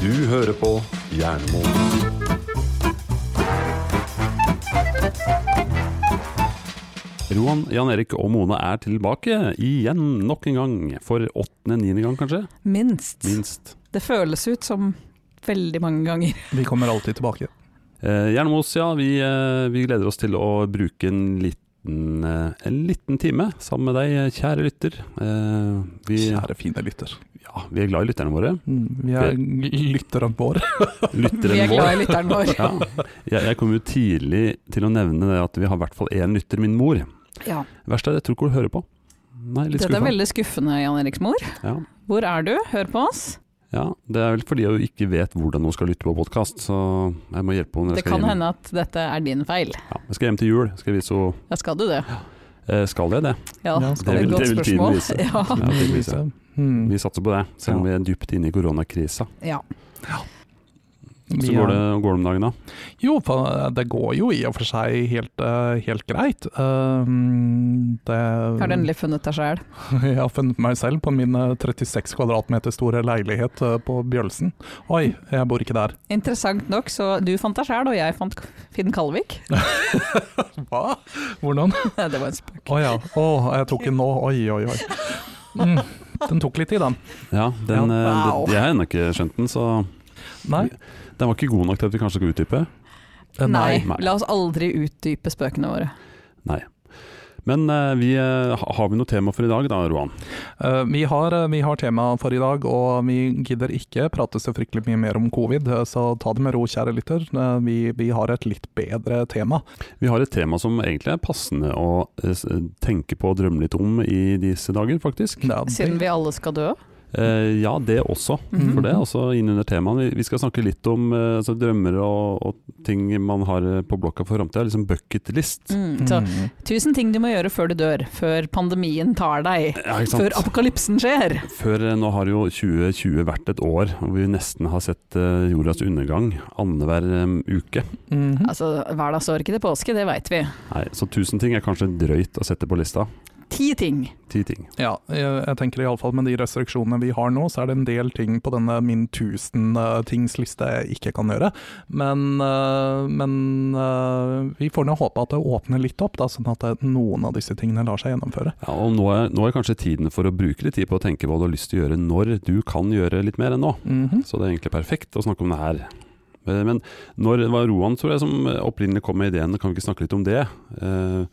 Du hører på Jernmo. Roan, Jan Erik og Mone er tilbake igjen, nok en gang. For åttende, niende gang kanskje? Minst. Minst. Det føles ut som veldig mange ganger. Vi kommer alltid tilbake. Eh, Jernmos, ja. Vi, eh, vi gleder oss til å bruke en liten, eh, en liten time sammen med deg, kjære lytter. Eh, vi, Kjære fine lytter. ja, vi er glad i lytterne våre. Mm, Vi er lytterne våre. Vi er Lytteren vår. glad i lytteren vår. Ja. Jeg, jeg kom jo tidlig til å nevne det at vi har i hvert fall én lytter, min mor. Ja. Verst er det, jeg tror ikke hun hører på. Nei, litt Dette er skuffende. veldig skuffende, Jan Eriks mor. Ja. Hvor er du? Hør på oss. ja, det er vel fordi hun ikke vet hvordan hun skal lytte på podkast, så jeg må hjelpe henne. når Det jeg skal kan hjem. hende at dette er din feil. Ja, jeg skal hjem til jul, skal jeg vise henne Ja, skal du det? eh, Skal jeg det? Ja, Ja, det skal er vi. et godt Det vil tiden spørsmål. vise. Ja. Ja, det blir så. Mm. Vi satser på det, selv om vi er dypt inne i koronakrisa. Ja. Så Vi går er- det, går det om dagen, da? Jo, fa- det går jo i og for seg helt, eh, helt greit. Um, det, Har du endelig funnet deg sjæl? Jeg har funnet meg selv på min eh, 36 kvadratmeter store leilighet eh, på Bjølsen. Oi, jeg bor ikke der. Interessant nok, så du fant deg sjæl, og jeg fant K- Finn Kalvik. Hva? Hvordan? Det var en spøk. Å ja. Å, jeg tok den nå. Oi, oi, oi. Mm. Den tok litt tid, den. Ja, den, eh, wow. det, jeg har ennå ikke skjønt den, så Nei. den var ikke god nok til at vi kanskje skal utdype. Eh, Nei, nei. la oss aldri utdype spøkene våre. Men eh, vi, eh, ha- har vi noe tema for i dag da, Roan? Eh, Vi har, vi har tema for i dag, og vi gidder ikke prate så fryktelig mye mer om covid, eh, så ta det med ro, kjære lytter. Eh, Vi, vi har et litt bedre tema. Vi har et tema som egentlig er passende å eh, s- tenke på og drømme litt om i disse dager, faktisk. Ja, det- Siden vi alle skal dø. Eh, ja, det også. Mhm. For det er også innunder temaet. Vi- Vi skal snakke litt om eh, altså drømmer og, og ting man har eh, på blokka for framtida. Liksom bucketlist. Mm, så Mm. tusen ting du må gjøre før du dør, før pandemien tar deg, Ja, ikke før sant. apokalypsen skjer. Før eh, nå har jo 2020 vært et år hvor vi nesten har sett eh, jordas undergang annenhver eh, uke. Mhm. Altså, Hverdagsår ikke til påske, det veit vi. Nei, så 1000 ting er kanskje drøyt å sette på lista. Ti ting. Ti ting. Ja, jeg, jeg tenker iallfall med de restriksjonene vi har nå, så er det en del ting på denne min 1000-tingsliste jeg ikke kan gjøre. Men, eh, men eh, vi får nå håpe at det åpner litt opp, da, sånn at eh, noen av disse tingene lar seg gjennomføre. Ja, og nå er, nå er kanskje tiden for å bruke litt tid på å tenke hva du har lyst til å gjøre når du kan gjøre litt mer enn nå. Mhm. Så det er egentlig perfekt å snakke om det her. Eh, Men når det var Roan tror jeg, som opprinnelig kom med ideen, kan vi ikke snakke litt om det? Eh,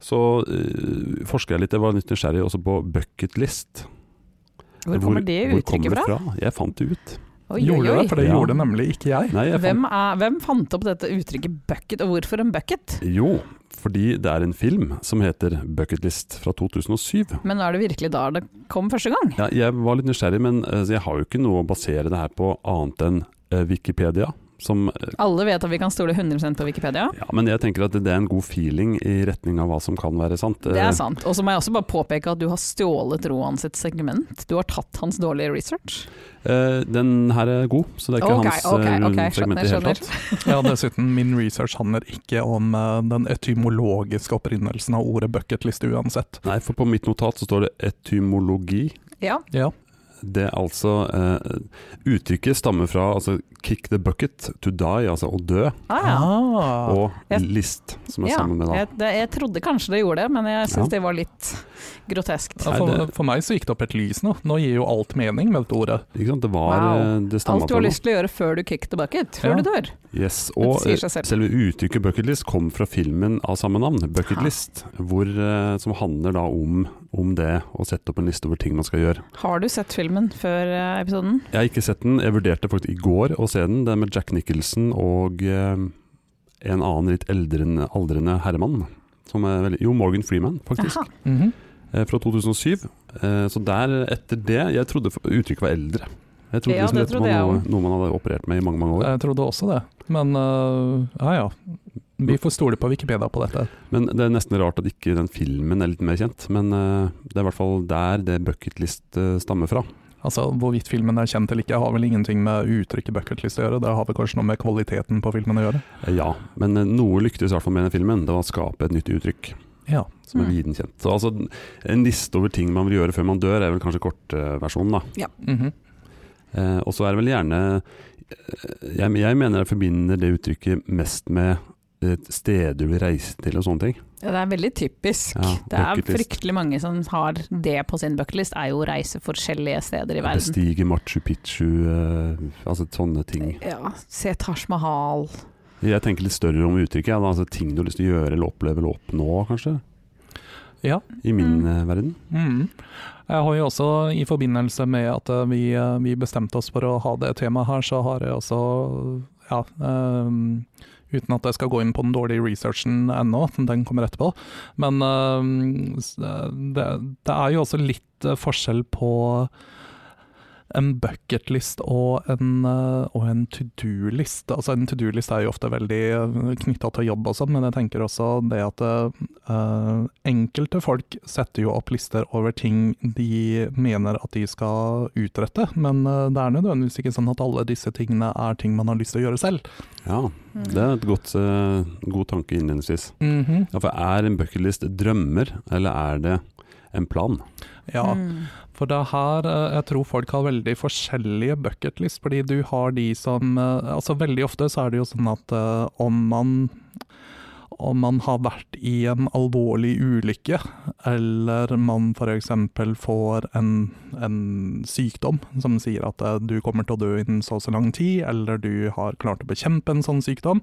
Så eh, forsker jeg litt, jeg var litt nysgjerrig også på bucketlist. Hvor kommer det hvor uttrykket kommer det fra? Jeg fant det ut. Oi, Gjorde oi, det, oi. for det Ja. gjorde nemlig ikke jeg. Nei, jeg fant, Hvem, er, hvem fant opp dette uttrykket bucket, og hvorfor en bucket? jo, fordi det er en film som heter Bucketlist fra 2007. Men er det virkelig da det kom første gang? Ja, jeg var litt nysgjerrig, men eh, jeg har jo ikke noe å basere det her på annet enn eh, Wikipedia. Som, eh, Alle vet at vi kan stole 100 på Wikipedia. ja, men jeg tenker at det er en god feeling i retning av hva som kan være sant. Det Eh, er sant. Og så må jeg også bare påpeke at du har stjålet Roan sitt segment. Du har tatt hans dårlige research. Eh, den her er god, så det er ikke Ok, hans ok, eh, ok, segment i skjønner, det hele tatt. Ja, dessuten, min research handler ikke om eh, den etymologiske opprinnelsen av ordet bucketliste uansett. Nei, for på mitt notat så står det etymologi. Ja, Ja. Det er altså eh, Uttrykket stammer fra altså, 'kick the bucket', 'to die', altså å dø, ah, ja. Ah. og Jeg- 'list', som er ja. sammen med da. Jeg, det, jeg trodde kanskje det gjorde det, men jeg syns Ja. det var litt groteskt. Ja, Nei, for, det- for meg så gikk det opp et lys nå. Nå gir jo alt mening med dette ordet. Ikke sant? Det var Wow. eh, Det stammer Alt du fra har noe. lyst til å gjøre før du kick the bucket, før Ja. du dør. Yes, og sier seg eh, selv. selve uttrykket 'bucketlist' kom fra filmen av samme navn, Ha. 'Bucketlist', hvor, eh, som handler da om, om det å sette opp en liste over ting man skal gjøre. Har du sett filmen før eh, episoden? Jeg har ikke sett den. Jeg vurderte faktisk i går å se den. Det er med Jack Nicholson og eh, en annen litt eldrende, aldrende herremann. Som er veldig, jo, Morgan Freeman, faktisk. Aha. Mhm. Eh, fra 2007. Eh, så der, etter det Jeg trodde f- uttrykket var eldre. Jeg trodde Ja, liksom det dette trodde var jeg noe, noe man hadde operert med i mange mange år. Jeg trodde også det, men øh, ja ja. Vi får stole på Wikipedia på dette. Men det er nesten rart at ikke den filmen er litt mer kjent. Men eh, det er i hvert fall der det bucketlist eh, stammer fra. Altså, Hvorvidt filmen er kjent eller ikke, har vel ingenting med uttrykket bucketlist å gjøre. Det har vel kanskje noe med kvaliteten på filmen å gjøre. Eh, ja, men eh, noe lyktes i hvert fall med den filmen. Det var å skape et nytt uttrykk. Ja. som er Mm. viden kjent. Så altså, en liste over ting man vil gjøre før man dør, er vel kanskje kortversjonen. da. Mhm. Eh, og så er det vel gjerne eh, jeg, jeg mener jeg forbinder det uttrykket mest med eh, steder du vil reise til og sånne ting. Ja, det er veldig typisk. Ja, det er bucket list. fryktelig mange som har det på sin bucketlist, er jo å reise forskjellige steder i verden. Bestige Machu Picchu, eh, altså sånne ting. Ja, se Taj Mahal. Jeg tenker litt større om uttrykket. ja, da, Altså ting du har lyst til å gjøre eller oppleve eller oppnå, kanskje. Ja. I min Mm. eh, verden. Mhm. Jeg har jo også i forbindelse med at eh, vi, eh, vi bestemte oss for å ha det temaet her, så har jeg også ja, ehm, uten at jeg skal gå inn på den dårlige researchen ennå, den kommer etterpå. Men ehm, s- eh, det, det er jo også litt eh, forskjell på en bucketlist og en, eh, og en to do-list. Altså En to do-list er jo ofte veldig knytta til jobb og sånn, men jeg tenker også det at eh, Eh, enkelte folk setter jo opp lister over ting de mener at de skal utrette, men eh, det er nødvendigvis ikke sånn at alle disse tingene er ting man har lyst til å gjøre selv. Ja, det Mm. er et godt, eh, god tanke innledningsvis. Ja, for er en bucketlist drømmer, eller er det en plan? Ja, Mm. for det er her eh, jeg tror folk har veldig forskjellige bucketlist, fordi du har de som eh, Altså veldig ofte så er det jo sånn at eh, om man om man har vært i en alvorlig ulykke, eller man f.eks. får en, en sykdom som sier at eh, du kommer til å dø innen så og så lang tid, eller du har klart å bekjempe en sånn sykdom,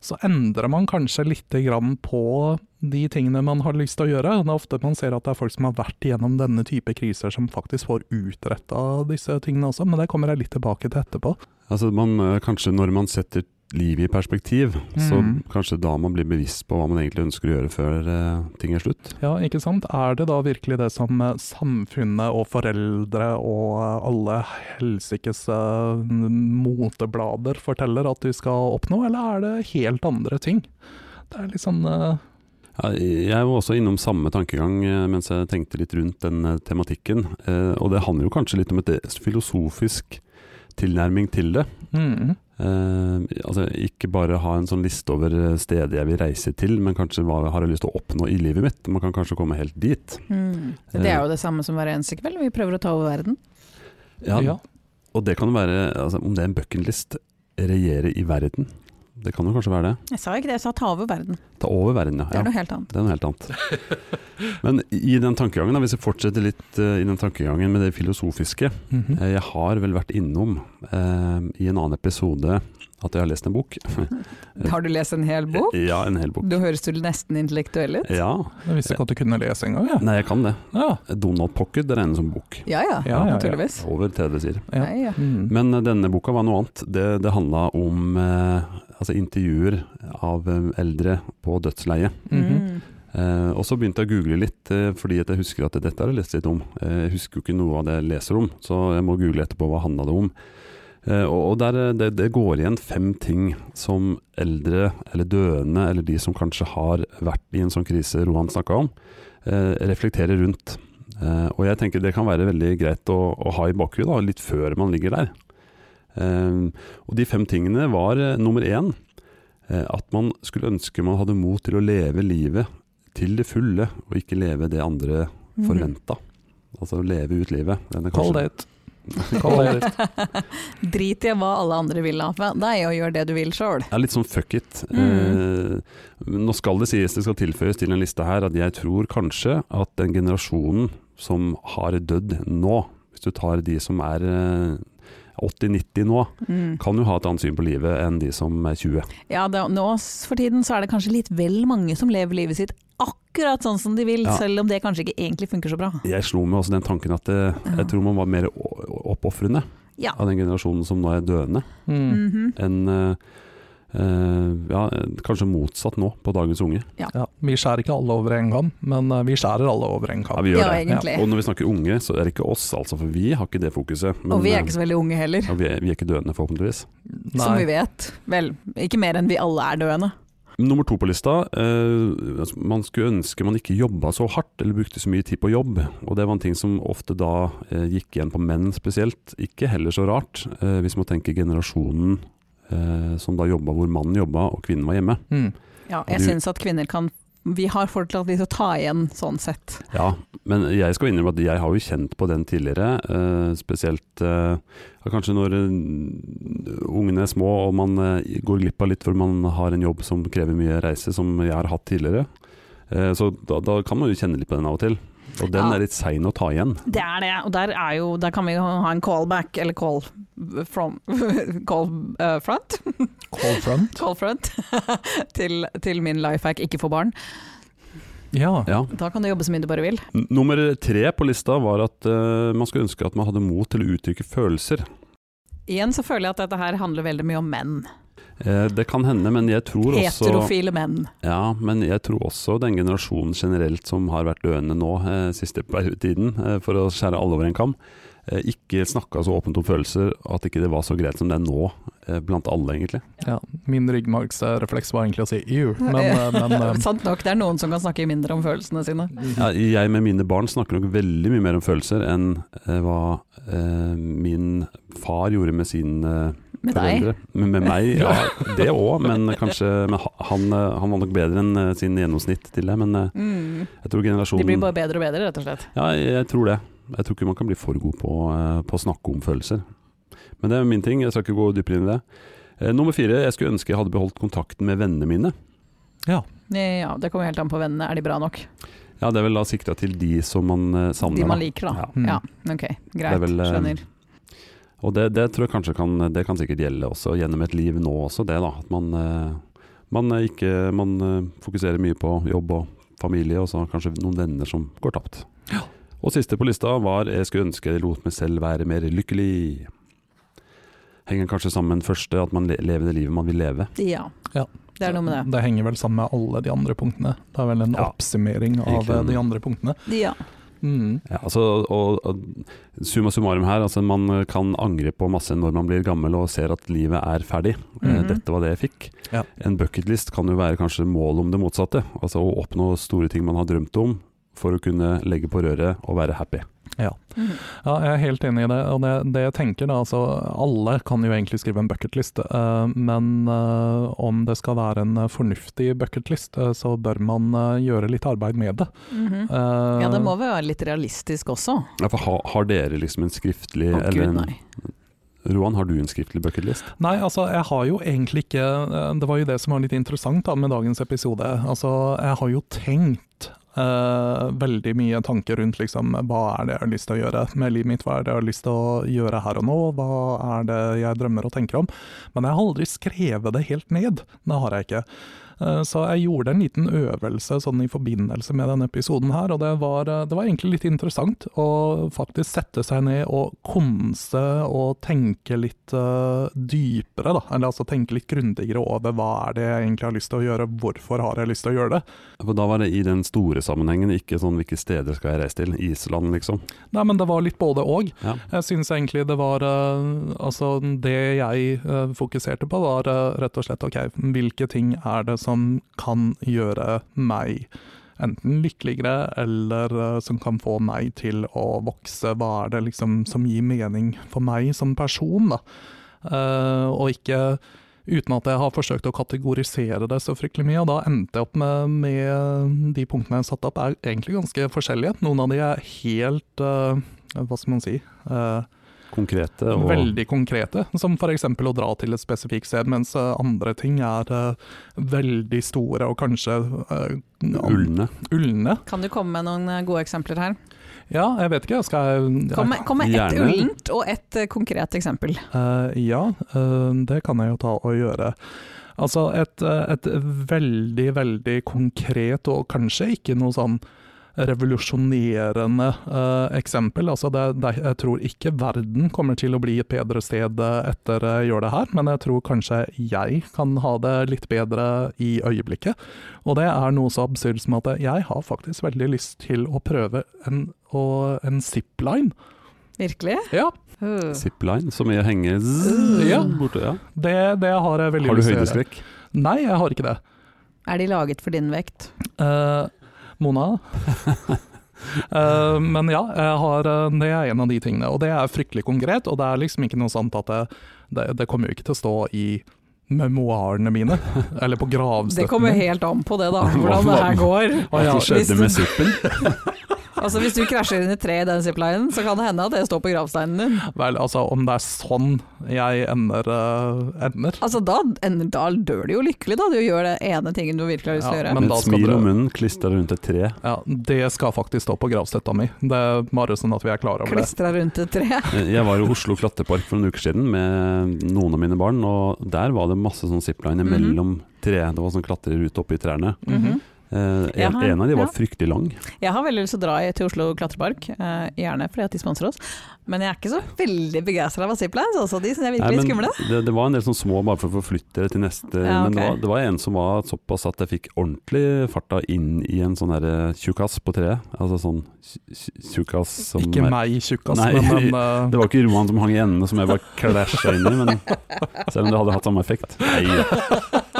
så endrer man kanskje lite grann på de tingene man har lyst til å gjøre. Det er ofte man ser at det er folk som har vært igjennom denne type kriser, som faktisk får utretta disse tingene også, men det kommer jeg litt tilbake til etterpå. Altså man, eh, kanskje når man setter livet i perspektiv, så Mm. kanskje da man blir bevisst på hva man egentlig ønsker å gjøre før eh, ting er slutt. Ja, ikke sant? Er det da virkelig det som eh, samfunnet og foreldre og eh, alle helsikes eh, moteblader forteller at du skal oppnå, eller er det helt andre ting? Det er litt sånn eh, Ja, Jeg var også innom samme tankegang eh, mens jeg tenkte litt rundt den eh, tematikken. Eh, Og det handler jo kanskje litt om et eh, filosofisk tilnærming til det. mm, Eh, altså Ikke bare ha en sånn liste over eh, steder jeg vil reise til, men kanskje hva jeg har jeg lyst til å oppnå i livet mitt. Man kan kanskje komme helt dit. Mm. Det er jo det samme som hver eneste kveld, vi prøver å ta over verden. Ja, ja. Og det kan være, altså, om det er en bucketlist, regjere i verden. Det kan jo kanskje være det. Jeg sa ikke det, jeg sa ta over verden. Ta over verden, ja. Det ja. er noe helt annet. Det er noe helt annet. Men i den tankegangen, da, hvis jeg fortsetter litt eh, i den tankegangen med det filosofiske Mhm. Eh, Jeg har vel vært innom eh, i en annen episode at jeg har lest en bok. Eh, Har du lest en hel bok? Ja, en hel bok. Da høres du nesten intellektuell ut. eh, Ja, Jeg visste ikke at du kunne lese engang, jeg. nei jeg kan det. Ja. Donald Pocket det regnes som bok. Ja ja, Ja, ja, ja. naturligvis. Over 30 sider. Ja. Nei, ja. Mm. Men eh, denne boka var noe annet. Det, det handla om eh, altså intervjuer av eh, eldre på dødsleiet. Mhm. Mm. Eh, og så begynte jeg å google litt, eh, fordi at jeg husker at dette har jeg lest litt om. Eh, jeg husker jo ikke noe av det jeg leser om, så jeg må google etterpå hva handla det om. Eh, og og der, eh, det, det går igjen fem ting som eldre eller døende, eller de som kanskje har vært i en sånn krise Rohan snakka om, eh, reflekterer rundt. Eh, og jeg tenker det kan være veldig greit å, å ha i bakhuet da, litt før man ligger der. Eh, og de fem tingene var eh, nummer én eh, at man skulle ønske man hadde mot til å leve livet til det fulle, og ikke leve det andre Mm. Mhm. forventa. Altså leve ut livet. Den er Call kanskje- date. Call date. Drit i hva alle andre vil av deg, og gjør det du vil sjøl. Det er litt sånn fuck it. Mm. Eh, nå skal det sies, det skal tilføyes til en liste her, at jeg tror kanskje at den generasjonen som har dødd nå, hvis du tar de som er eh, 80-90 nå, Mm. kan jo ha et annet syn på livet enn de som er 20. Ja, det, nå s- for tiden så er det kanskje litt vel mange som lever livet sitt akkurat sånn som de vil, Ja. selv om det kanskje ikke egentlig funker så bra. Jeg slo meg også den tanken at eh, Ja. jeg tror man var mer o- oppofrende Ja. av den generasjonen som nå er døende. Mm. Mhm. enn eh, eh, ja, kanskje motsatt nå på dagens unge. Ja, vi skjærer ikke alle over en kam, men eh, vi skjærer alle over en kam. Ja, vi gjør Ja, det. egentlig. Og når vi snakker unge, så er det ikke oss, altså, for vi har ikke det fokuset. men, og vi er eh, ikke så veldig unge heller, ja, vi, er, vi er ikke døende, forhåpentligvis. som vi Nei. vet. Vel, ikke mer enn vi alle er døende. Nummer to på lista. eh, altså, man skulle ønske man ikke jobba så hardt eller brukte så mye tid på jobb. Og det var en ting som ofte da eh, gikk igjen på menn spesielt. Ikke heller så rart, eh, hvis man tenker generasjonen eh, som da jobba hvor mannen jobba og kvinnen var hjemme. Mm. Ja, jeg Du- syns at kvinner kan vi har fortsatt litt å ta igjen, sånn sett. Ja, men jeg skal innrømme at jeg har jo kjent på den tidligere. eh, spesielt eh, ja, kanskje når eh, ungene er små og man eh, går glipp av litt for man har en jobb som krever mye reise, som jeg har hatt tidligere. Eh, så da, da kan man jo kjenne litt på den av og til. Og den Ja. er litt sein å ta igjen. Det er det, og der, er jo, der kan vi jo ha en callback, eller call from Call eh, front? Cold front. Call front til, til min lifehack ikke få barn. Ja. Ja. Da kan du jobbe så mye du bare vil. N- Nummer tre på lista var at eh, man skulle ønske at man hadde mot til å uttrykke følelser. Igjen så føler jeg at dette her handler veldig mye om menn. Eh, det kan hende, men jeg tror også Heterofile menn. Ja, men jeg tror også den generasjonen generelt som har vært døende nå eh, siste tiden, eh, for å skjære alle over en kam, eh, ikke snakka så åpent om følelser, at ikke det var så greit som det er nå eh, blant alle, egentlig. ja. Min ryggmargsrefleks var egentlig å si ew, men, eh, men eh, Sant nok, det er noen som kan snakke mindre om følelsene sine. Ja, jeg med mine barn snakker nok veldig mye mer om følelser enn eh, hva eh, min far gjorde med sine eh, Med deg. foreldre. Med, med meg, ja. Det òg, men kanskje men ha- han, eh, han var nok bedre enn eh, sin gjennomsnitt til det. Men eh, Mm. jeg tror generasjonen De blir bare bedre og bedre, rett og slett. Ja, jeg jeg tror det. Jeg tror ikke man kan bli for god på, eh, på å snakke om følelser. Men det er min ting, jeg skal ikke gå dypere inn i det. Eh, Nummer fire, jeg skulle ønske jeg hadde beholdt kontakten med vennene mine. Ja, Det kommer helt an på vennene. Er de bra nok? Ja, Det er vel da sikta til de som man eh, savner. De man da. liker, da. Mm. Ja, ok. er Greit. vel, eh, Skjønner. Og det, det tror jeg kanskje kan, det kan sikkert gjelde også gjennom et liv nå også, det da. At man, eh, man, eh, ikke, man eh, fokuserer mye på jobb og familie, og så kanskje noen venner som går tapt. Og siste på lista var 'jeg skulle ønske jeg lot meg selv være mer lykkelig'. Henger kanskje sammen første, at man le- lever det livet man vil leve. Ja. Ja. Det er noe med det. Det henger vel sammen med alle de andre punktene. Det er vel en Ja. oppsummering av Egentlig. eh, de andre punktene. Ja. Mm. Ja, altså, og, og summa summarum her, altså man kan angre på masse når man blir gammel og ser at livet er ferdig. Eh, Mhm. Dette var det jeg fikk. Ja. En bucketlist kan jo være kanskje mål om det motsatte. Altså å oppnå store ting man har drømt om, for å kunne legge på røret og være happy. Mhm. Ja, jeg er helt enig i det. Og det, det jeg tenker da, altså alle kan jo egentlig skrive en bucketlist, eh, men eh, om det skal være en eh, fornuftig bucketlist, eh, så bør man eh, gjøre litt arbeid med det. Mhm. Eh, Ja, det må vel være litt realistisk også. Å, Ja, for ha, har dere liksom en skriftlig eller gud, en, nei. Roan, har du en skriftlig bucketlist? Nei, altså jeg har jo egentlig ikke eh, Det var jo det som var litt interessant da med dagens episode. Altså, jeg har jo tenkt eh, veldig mye tanker rundt liksom hva er det jeg har lyst til å gjøre med livet mitt, hva er det jeg har lyst til å gjøre her og nå, hva er det jeg drømmer og tenker om. Men jeg har aldri skrevet det helt ned. Det har jeg ikke. Eh, Så jeg gjorde en liten øvelse sånn i forbindelse med denne episoden her, og det var, eh, det var egentlig litt interessant å faktisk sette seg ned og konse og tenke litt eh, dypere, da. Eller altså tenke litt grundigere over hva er det jeg egentlig har lyst til å gjøre, hvorfor har jeg lyst til å gjøre det. For da var det i den store sammenhengen, ikke sånn hvilke steder skal jeg reise til? Island, liksom. Nei, men det var litt både og. Ja. Jeg syns egentlig det var eh, Altså, det jeg eh, fokuserte på, var eh, rett og slett OK, hvilke ting er det som kan gjøre meg enten lykkeligere, eller eh, som kan få meg til å vokse? Hva er det liksom som gir mening for meg som person, da? Eh, og ikke Uten at jeg har forsøkt å kategorisere det så fryktelig mye, og da endte jeg opp med, med de punktene jeg har satt opp, er egentlig ganske forskjellige. Noen av de er helt eh, hva skal man si, eh, Konkrete og veldig konkrete. Som f.eks. å dra til et spesifikt sted, mens eh, andre ting er eh, veldig store og kanskje eh, ulne. ulne. Kan du komme med noen eh, gode eksempler her? Ja, jeg vet ikke, skal jeg Kom med, kom med ett Gjerne. ullent og ett eh, konkret eksempel. Eh, ja, eh, det kan jeg jo ta og gjøre. Altså et, eh, et veldig, veldig konkret og kanskje ikke noe sånn revolusjonerende eh, eksempel. Altså det, det, jeg tror ikke verden kommer til å bli et bedre sted eh, etter jeg gjør det her, men jeg tror kanskje jeg kan ha det litt bedre i øyeblikket. Og det er noe så absurd som at jeg har faktisk veldig lyst til å prøve en, å- en zipline. Virkelig? Ja, Øh, Uh. Zipline, som i å henge zzz, Ja. borte. Ja. det, det har jeg veldig Har du lyst til å gjøre. høydeskrekk? Nei, jeg har ikke det. Er de laget for din vekt? Eh, Mona? Eh, men ja, jeg har, eh, det er en av de tingene. Og det er fryktelig konkret, og det er liksom ikke noe sant at det, det, det kommer jo ikke til å stå i memoarene mine. Eller på Det gravstøtten kommer min. helt an på det, da, hvordan det her går. Hva ja, som skjedde med hvis- suppen? Altså Hvis du krasjer inn i tre i den ziplinen, så kan det hende at det står på gravsteinen din. Vel, altså, om det er sånn jeg ender, eh, ender. Altså Da, en- da dør du jo lykkelig, da. Du gjør det ene tingen du virkelig har lyst til å Ja, gjøre. men Med da et skal smil dere- om munnen, klistra rundt et tre. Ja, det skal faktisk stå på gravstøtta mi. Det er bare sånn at vi er klar over det. Klistra rundt et tre. Eh, Jeg var i Oslo Klatrepark for noen uker siden med noen av mine barn, og der var det masse sånn zipline Mhm. mellom tre. Det var sånn klatrerute oppi trærne. Mhm. Eh, Jeg en, har- en av de var ja. fryktelig lang. Jeg har veldig lyst til å dra i- til Oslo klatrepark, eh, gjerne fordi at de sponser oss. Men jeg er ikke så veldig begeistra av ziplines, altså. De syns jeg Nei, virkelig er men skumle. Det, det var en del sånn små bare for å forflytte det til neste. Ja, Men det ok. var, det var en som var såpass at jeg fikk ordentlig farta inn i en sånn her, eh, tjukkas på treet. Altså sånn tj- tj- tjukkas som Ikke er- meg, tjukkas, Nei. men, men eh, Det var ikke Roan som hang i endene som jeg bare klasja inn i, men selv om det hadde hatt samme effekt. Nei,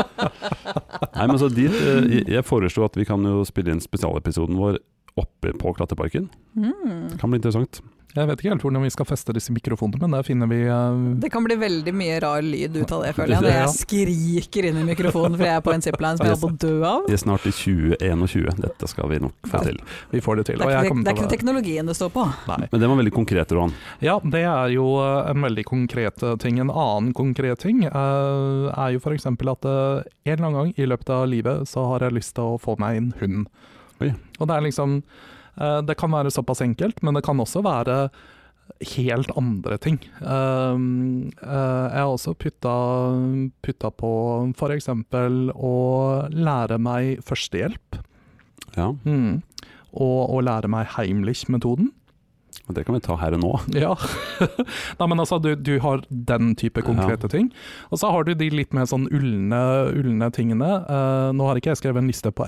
Nei men så dit eh, Jeg jeg foreslo at vi kan jo spille inn spesialepisoden vår oppe på Klatterparken. Mm. Det kan bli interessant. jeg vet ikke helt hvordan vi skal feste disse mikrofonene, men det finner vi eh, Det kan bli veldig mye rar lyd ut av det, føler jeg. Når Ja. jeg skriker inn i mikrofonen fordi jeg er på en zipline som jeg holder på å dø av. Vi er snart i 2021. Dette skal vi nok få til. Vi får det til. Det og er jeg ikke, kommer det er til å ikke være- teknologien det står på. Nei. Men det var veldig konkret, Roan. Ja, det er jo eh, en veldig konkret eh, ting. En annen konkret ting eh, er jo f.eks. at eh, en eller annen gang i løpet av livet så har jeg lyst til å få meg en hund. Oi. Og det er liksom eh, Det kan være såpass enkelt, men det kan også være helt andre ting. Um, eh, jeg har også putta, putta på f.eks. å lære meg førstehjelp. Ja, Mm. Og å lære meg Heimlich-metoden. og Det kan vi ta her og nå. Ja. Nei, men altså, du, du har den type konkrete ting. Og så har du de litt mer sånn ulne, ulne tingene. Eh, nå har ikke jeg skrevet en liste på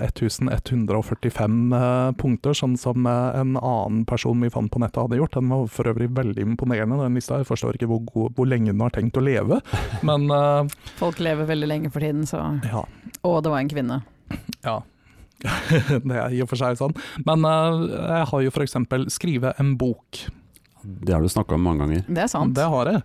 1145 eh, punkter, sånn som eh, en annen person vi fant på nettet hadde gjort. Den var for øvrig veldig imponerende, den lista. Jeg forstår ikke hvor, god, hvor lenge den har tenkt å leve, men eh, Folk lever veldig lenge for tiden, så ja. Og det var en kvinne. Ja. Det er i og for seg sånn. Men eh, jeg har jo f.eks. skrive en bok. Det har du snakka om mange ganger. Det er sant. Det har jeg.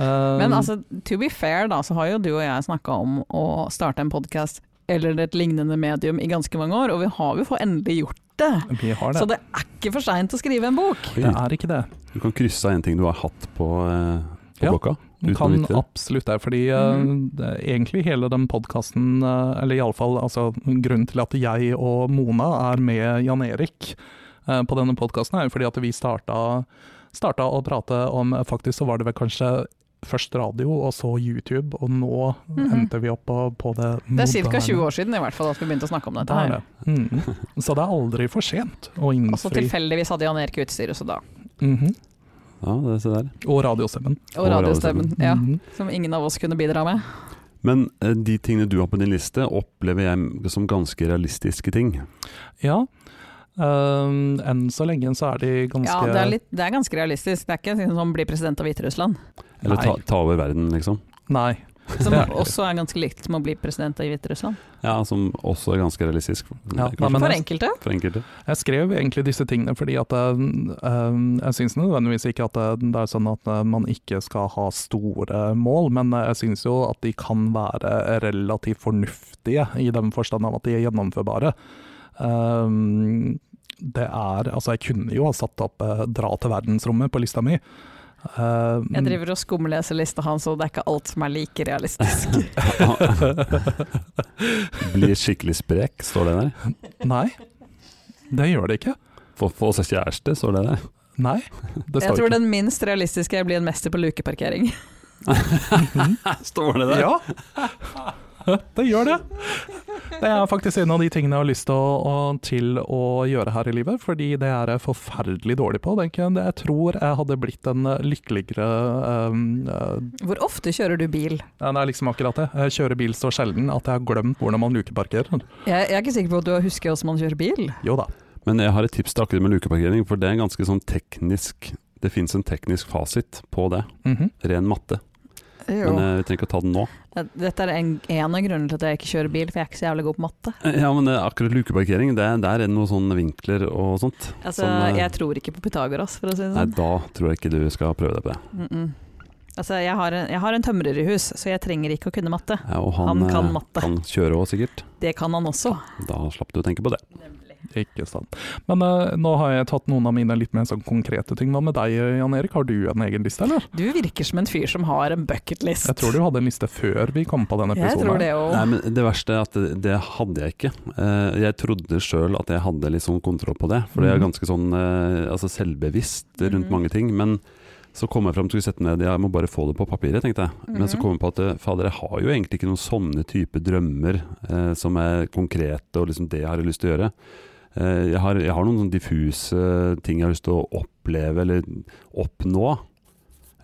Eh, Men altså, to be fair, da, så har jo du og jeg snakka om å starte en podkast eller et lignende medium i ganske mange år, og vi har jo fått endelig gjort det. vi har Så det. det er ikke for seint å skrive en bok. Det er ikke det. Du kan krysse av en ting du har hatt på, eh, på Ja. blokka. Du uten å kan vite det. absolutt det, fordi eh, Mhm. det, egentlig hele den podkasten, uh, eller iallfall altså, grunnen til at jeg og Mona er med Jan Erik eh, på denne podkasten, er jo fordi at vi starta, starta å prate om eh, Faktisk så var det vel kanskje først radio, og så YouTube, og nå Mhm. endte vi opp på, på det Det er ca. 20 år siden i hvert fall at vi begynte å snakke om dette. her. Så det er aldri for sent Og å så innfri. tilfeldigvis hadde Jan Erik utstyret, så da. Mhm. Ja, det, se der. Og radiostemmen. Og Og radiostemmen, ja, Mhm. som ingen av oss kunne bidra med. Men eh, de tingene du har på din liste, opplever jeg som ganske realistiske ting. Ja. Ehm, enn så lenge så er de ganske Ja, det er, litt, det er ganske realistisk. Det er ikke sånn som bli president av Hviterussland, Eller Nei. ta, ta over verden, liksom. Nei. som Det er- også er ganske likt som å bli president av Hviterussland. Ja, Som også er ganske realistisk. Ja, Kanskje nei, men- For jeg- enkelte. for enkelte. Jeg skrev egentlig disse tingene fordi at ehm, jeg syns nødvendigvis ikke at det det er sånn at eh, man ikke skal ha store mål, men eh, jeg syns jo at de kan være relativt fornuftige i den forstand av at de er gjennomførbare. Ehm, det er Altså, jeg kunne jo ha satt opp eh, 'dra til verdensrommet' på lista mi. Ehm, Mm. Jeg driver og skumleser lista hans, og det er ikke alt som er like realistisk. Bli skikkelig sprek, står det der. Nei, det gjør det ikke. Få, få seg kjæreste, står det der. Nei, det Jeg står tror ikke. den minst realistiske er å bli en mester på lukeparkering. Står det Ja, det gjør det. Det er faktisk en av de tingene jeg har lyst til å, å, til å gjøre her i livet, fordi det er jeg forferdelig dårlig på. tenker Jeg Jeg tror jeg hadde blitt en eh, lykkeligere ehm, eh, Hvor ofte kjører du bil? ja, Det er liksom akkurat det. Jeg kjører bil så sjelden at jeg har glemt hvordan man lukeparkerer. Jeg, jeg er ikke sikker på at du husker hvordan man kjører bil. Jo da. Men jeg har et tips til akkurat med lukeparkering, for det er en ganske sånn teknisk Det fins en teknisk fasit på det. Mhm. Ren matte. Men eh, vi trenger ikke å ta den nå. Dette er en, en av grunnene til at jeg ikke kjører bil, for jeg er ikke så jævlig god på matte. Ja, men eh, akkurat lukeparkering, det, der er det noen sånne vinkler og sånt. Altså, Som, eh, jeg tror ikke på Pythagoras, for å si det Nei, sånn. da tror jeg ikke du skal prøve deg på det. Mm -mm. Altså, jeg har, en, jeg har en tømrer i hus, så jeg trenger ikke å kunne matte. Ja, og Han kan eh, matte. kan kjøre òg, sikkert. Det kan han også. Da slapp du å tenke på det. Ikke sant. Men eh, nå har jeg tatt noen av mine litt mer sånn konkrete ting. Hva med deg, Jan Erik? Har du en egen liste, eller? Du virker som en fyr som har en bucketlist. Jeg tror du hadde en liste før vi kom på denne Jeg episoden. tror det Nei, òg. men Det verste er at det, det hadde jeg ikke. Eh, Jeg trodde sjøl at jeg hadde litt sånn kontroll på det, for jeg er Mhm. ganske sånn eh, altså selvbevisst rundt Mhm. mange ting. Men så kom jeg fram til å sette ned Jeg må bare få det på papiret, tenkte jeg. Men så Mhm. kom jeg på at eh, fader, jeg har jo egentlig ikke noen sånne type drømmer eh, som er konkrete, og liksom det jeg har lyst til å gjøre. Eh, jeg, har, jeg har noen sånn diffuse ting jeg har lyst til å oppleve eller oppnå.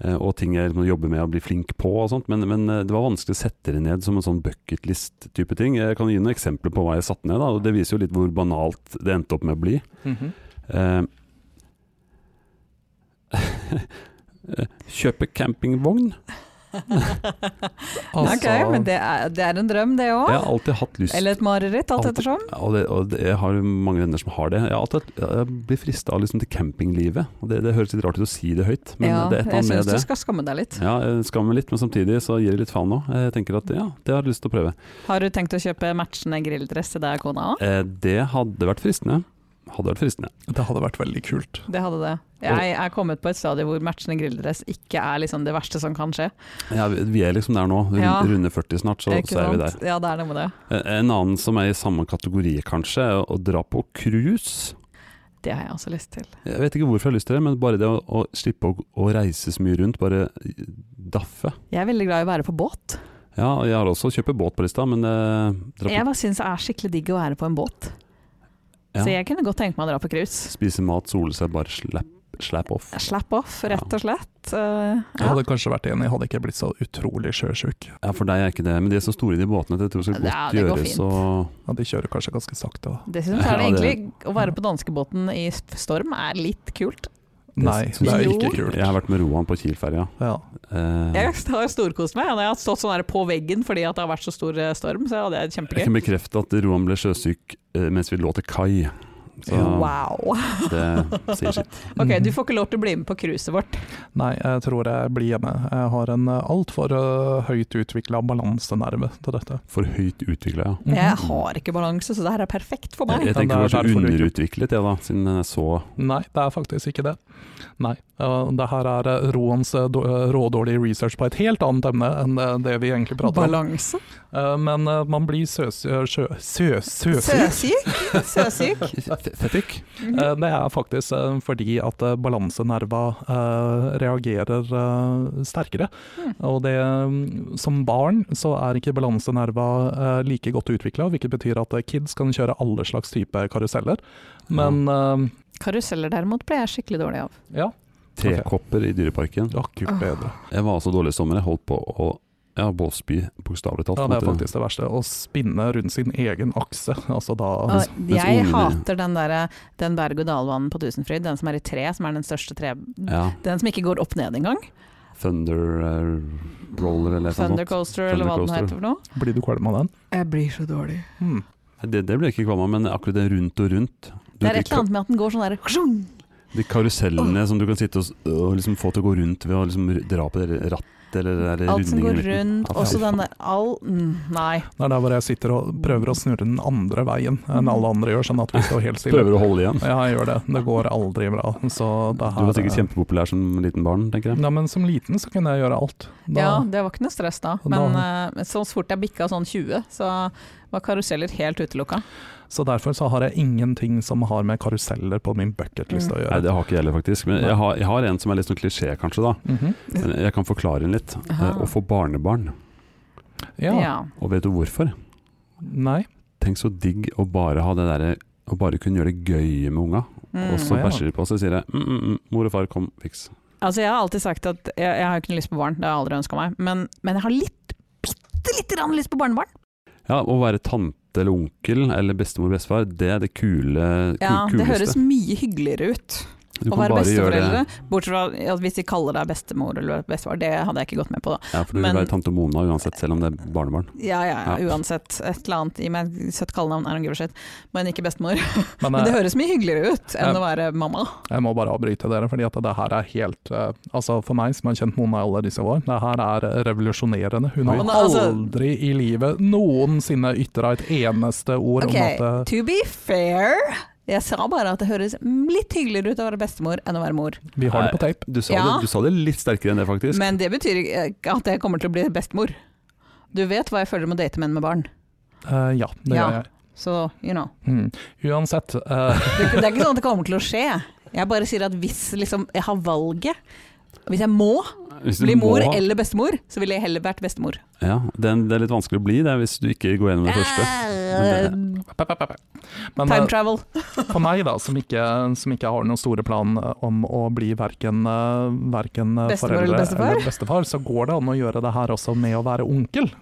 eh, Og ting jeg liksom jobber med å bli flink på og sånt. Men, men eh, det var vanskelig å sette det ned som en sånn bucketlist-type ting. Jeg kan gi noen eksempler på hva jeg satte ned, da, og det viser jo litt hvor banalt det endte opp med å bli. Mhm. Eh, Kjøpe campingvogn. Altså, Ok, men det er, det er en drøm, det Jeg òg. har alltid hatt lyst Eller et mareritt, alt Alt- ettersom. Ja, og, det, og det, jeg har jo mange venner som har det. Jeg, har alltid, jeg blir frista av liksom det campinglivet. Og det, det høres litt rart ut å si det høyt, men Ja, det er et eller jeg annet syns med du det. skal skamme deg litt. Ja, jeg skammer meg litt, men samtidig så gir jeg litt faen nå. Jeg tenker at ja, det har jeg lyst til å prøve. Har du tenkt å kjøpe matchende grilldress til deg og kona òg? Eh, det hadde vært fristende. Hadde vært fristende. det hadde vært veldig kult. Det hadde det. Jeg er kommet på et stadium hvor matchende grilldress ikke er liksom det verste som kan skje. Ja, vi vi er liksom der nå. Rund- Ja. Runde 40 snart, så, Ikke så er vi der. sant? Ja, det er noe med det. Eh, En annen som er i samme kategori kanskje, er å dra på cruise. Det har jeg også lyst til. Jeg vet ikke hvorfor jeg har lyst til det, men bare det å, å slippe å, å reise så mye rundt, bare daffe. Jeg er veldig glad i å være på båt. Ja, og jeg har også kjøpt båt på lista, men eh, dra på Jeg bare syns det er skikkelig digg å være på en båt. Ja. Så jeg kunne godt tenke meg å dra på cruise. Spise mat, sole seg, bare slapp, slapp off. Slap off, rett og slett. Eh, Jeg hadde kanskje vært enig, jeg hadde ikke blitt så utrolig sjøsjuk. Ja, for deg er ikke det, men de er så store de båtene at jeg tror det skal Ja, godt det går gjøres. fint. Og Ja, de kjører kanskje ganske sakte. da. Det syns jeg er det Ja, det- egentlig Å være på danskebåten i storm er litt kult. Det Nei, synes det er jeg ikke ikke. kult. jeg har vært med Roan på Kiel-ferja. Ja. Eh, Jeg har storkost meg. Hadde jeg har stått sånn her på veggen fordi at det har vært så stor eh, storm, så hadde jeg jeg kjempegøy. kan bekrefte at Roan ble sjøsyk eh, mens vi lå til kai. Så Wow. det sier sitt. Ok, du får ikke lov til å bli med på cruiset vårt. Nei, jeg tror jeg blir hjemme. Jeg har en eh, altfor eh, høyt utvikla balansenerve til dette. For høyt utvikla, ja. Mhm. Jeg har ikke balanse, så det her er perfekt for Jeg, meg. jeg tenker det Men var det er så derfor du ikke- underutviklet, jeg da, siden den er så Nei, det er faktisk ikke det. Nei. eh, Det her er eh, Roans eh, då- eh, rådårlige research på et helt annet emne enn eh, det vi egentlig prater om. Balanse? Eh, Men eh, man blir søs... eh, sjø- sø- Søsyk. Søsyk? Søsyk? Fettik? Eh, Det er faktisk eh, fordi at eh, balansenerva eh, reagerer eh, sterkere. Og det, mm, som barn så er ikke balansenerva eh, like godt utvikla, hvilket betyr at eh, kids kan kjøre alle slags type karuseller. Men eh, Karuseller derimot ble jeg skikkelig dårlig av. ja, Tekopper i Dyreparken. å gud bedre. Jeg var så dårlig i sommer, jeg holdt på å ja, bålspy, bokstavelig talt. Ja, det er måtte- faktisk det verste. Å spinne rundt sin egen akse. Altså da Og mens jeg ungene- hater den, der, den berg-og-dal-banen på Tusenfryd, den som er i tre, som er den største tre... Ja, Den som ikke går opp ned engang. Thunder eh, Roller eller noe sånt. Thundercoaster, eller hva den Thundercoaster. heter for noe. Blir du kvalm av den? Jeg blir så dårlig. Hmm. Det, det ble jeg ikke kvalm av, men akkurat det rundt og rundt. Du, Det er et de, eller annet med at den går sånn der «Sjung!» de karusellene som du kan sitte og, s- og liksom få til å gå rundt ved å liksom r- dra på det rattet eller det der Alt som går rundingen i midten. rundt, Ja, fy også faen. den der all mm, Nei. Det er der hvor jeg sitter og prøver å snurre den andre veien enn alle andre gjør, sånn at vi står helt stille. Prøver å holde igjen. Ja, jeg gjør det. Det går aldri bra. Så det her, Du var sikkert kjempepopulær som liten barn, tenker jeg. Ja, men som liten så kunne jeg gjøre alt. Da, Ja, det var ikke noe stress da. Da- Men eh, så fort jeg bikka sånn 20, så var karuseller helt utelukka. Så derfor så har jeg ingenting som har med karuseller på min bucketliste Mm. å Nei, gjøre. det har ikke jeg heller, faktisk. Men jeg har, jeg har en som er litt sånn klisjé, kanskje, da. Mhm. Men jeg kan forklare den litt. Eh, Aha. Å få barnebarn. ja. Og vet du hvorfor? Nei. Tenk så digg å bare ha det derre å bare kunne gjøre det gøy med unga, Mm. og så Ja. bæsjer de på seg og sier jeg, mm, mm, mm, 'mor og far, kom, fiks'. Altså, jeg har alltid sagt at jeg, jeg har ikke noe lyst på barn, det har jeg aldri ønska meg. Men, men jeg har litt, bitte lite grann lyst på barnebarn. Ja, Å være tante eller onkel eller bestemor og bestefar, det er det kule, ku- Ja, det høres kuleste. mye hyggeligere ut. Du Å kan være bare gjøre besteforeldre, det. bortsett fra ja, hvis de kaller deg bestemor eller bestefar, det hadde jeg ikke gått med på da. Ja, for du vil Men- være tante Mona uansett, selv om det er barnebarn. Ja, ja, Ja. ja, uansett. Et eller annet. Gi meg et søtt kallenavn, I don't give a shit. Men ikke bestemor. Men, Men eh, det høres mye hyggeligere ut enn Ja. å være mamma. Jeg må bare avbryte dere, fordi at det her er helt eh, Altså for meg som har kjent Mona i alle disse år, det her er revolusjonerende. Hun har Men altså- aldri i livet noensinne ytra et eneste ord Ok, om at eh, to be fair. Jeg sa bare at det høres litt hyggeligere ut å være bestemor enn å være mor. vi har det på tape. Du sa, Ja. det, du sa det litt sterkere enn det, faktisk. Men det betyr ikke at jeg kommer til å bli bestemor. Du vet hva jeg føler med å date menn med barn. Eh, ja, det Ja. gjør jeg. Så, you know. Mm. Uansett, eh, Det, det er ikke sånn at det kommer til å skje. Jeg bare sier at hvis liksom, jeg har valget Hvis jeg må Hvis du bli mor må- eller bestemor, så ville jeg heller vært bestemor. Ja, den, det er litt vanskelig å bli det hvis du ikke går gjennom det første. Eh, men eh, Time travel. for meg da, som ikke, som ikke har noen store plan eh, om å bli verken, eh, verken eh, Bestemor foreldre eller bestefar? eller bestefar, så går det an å gjøre det her også med å være onkel.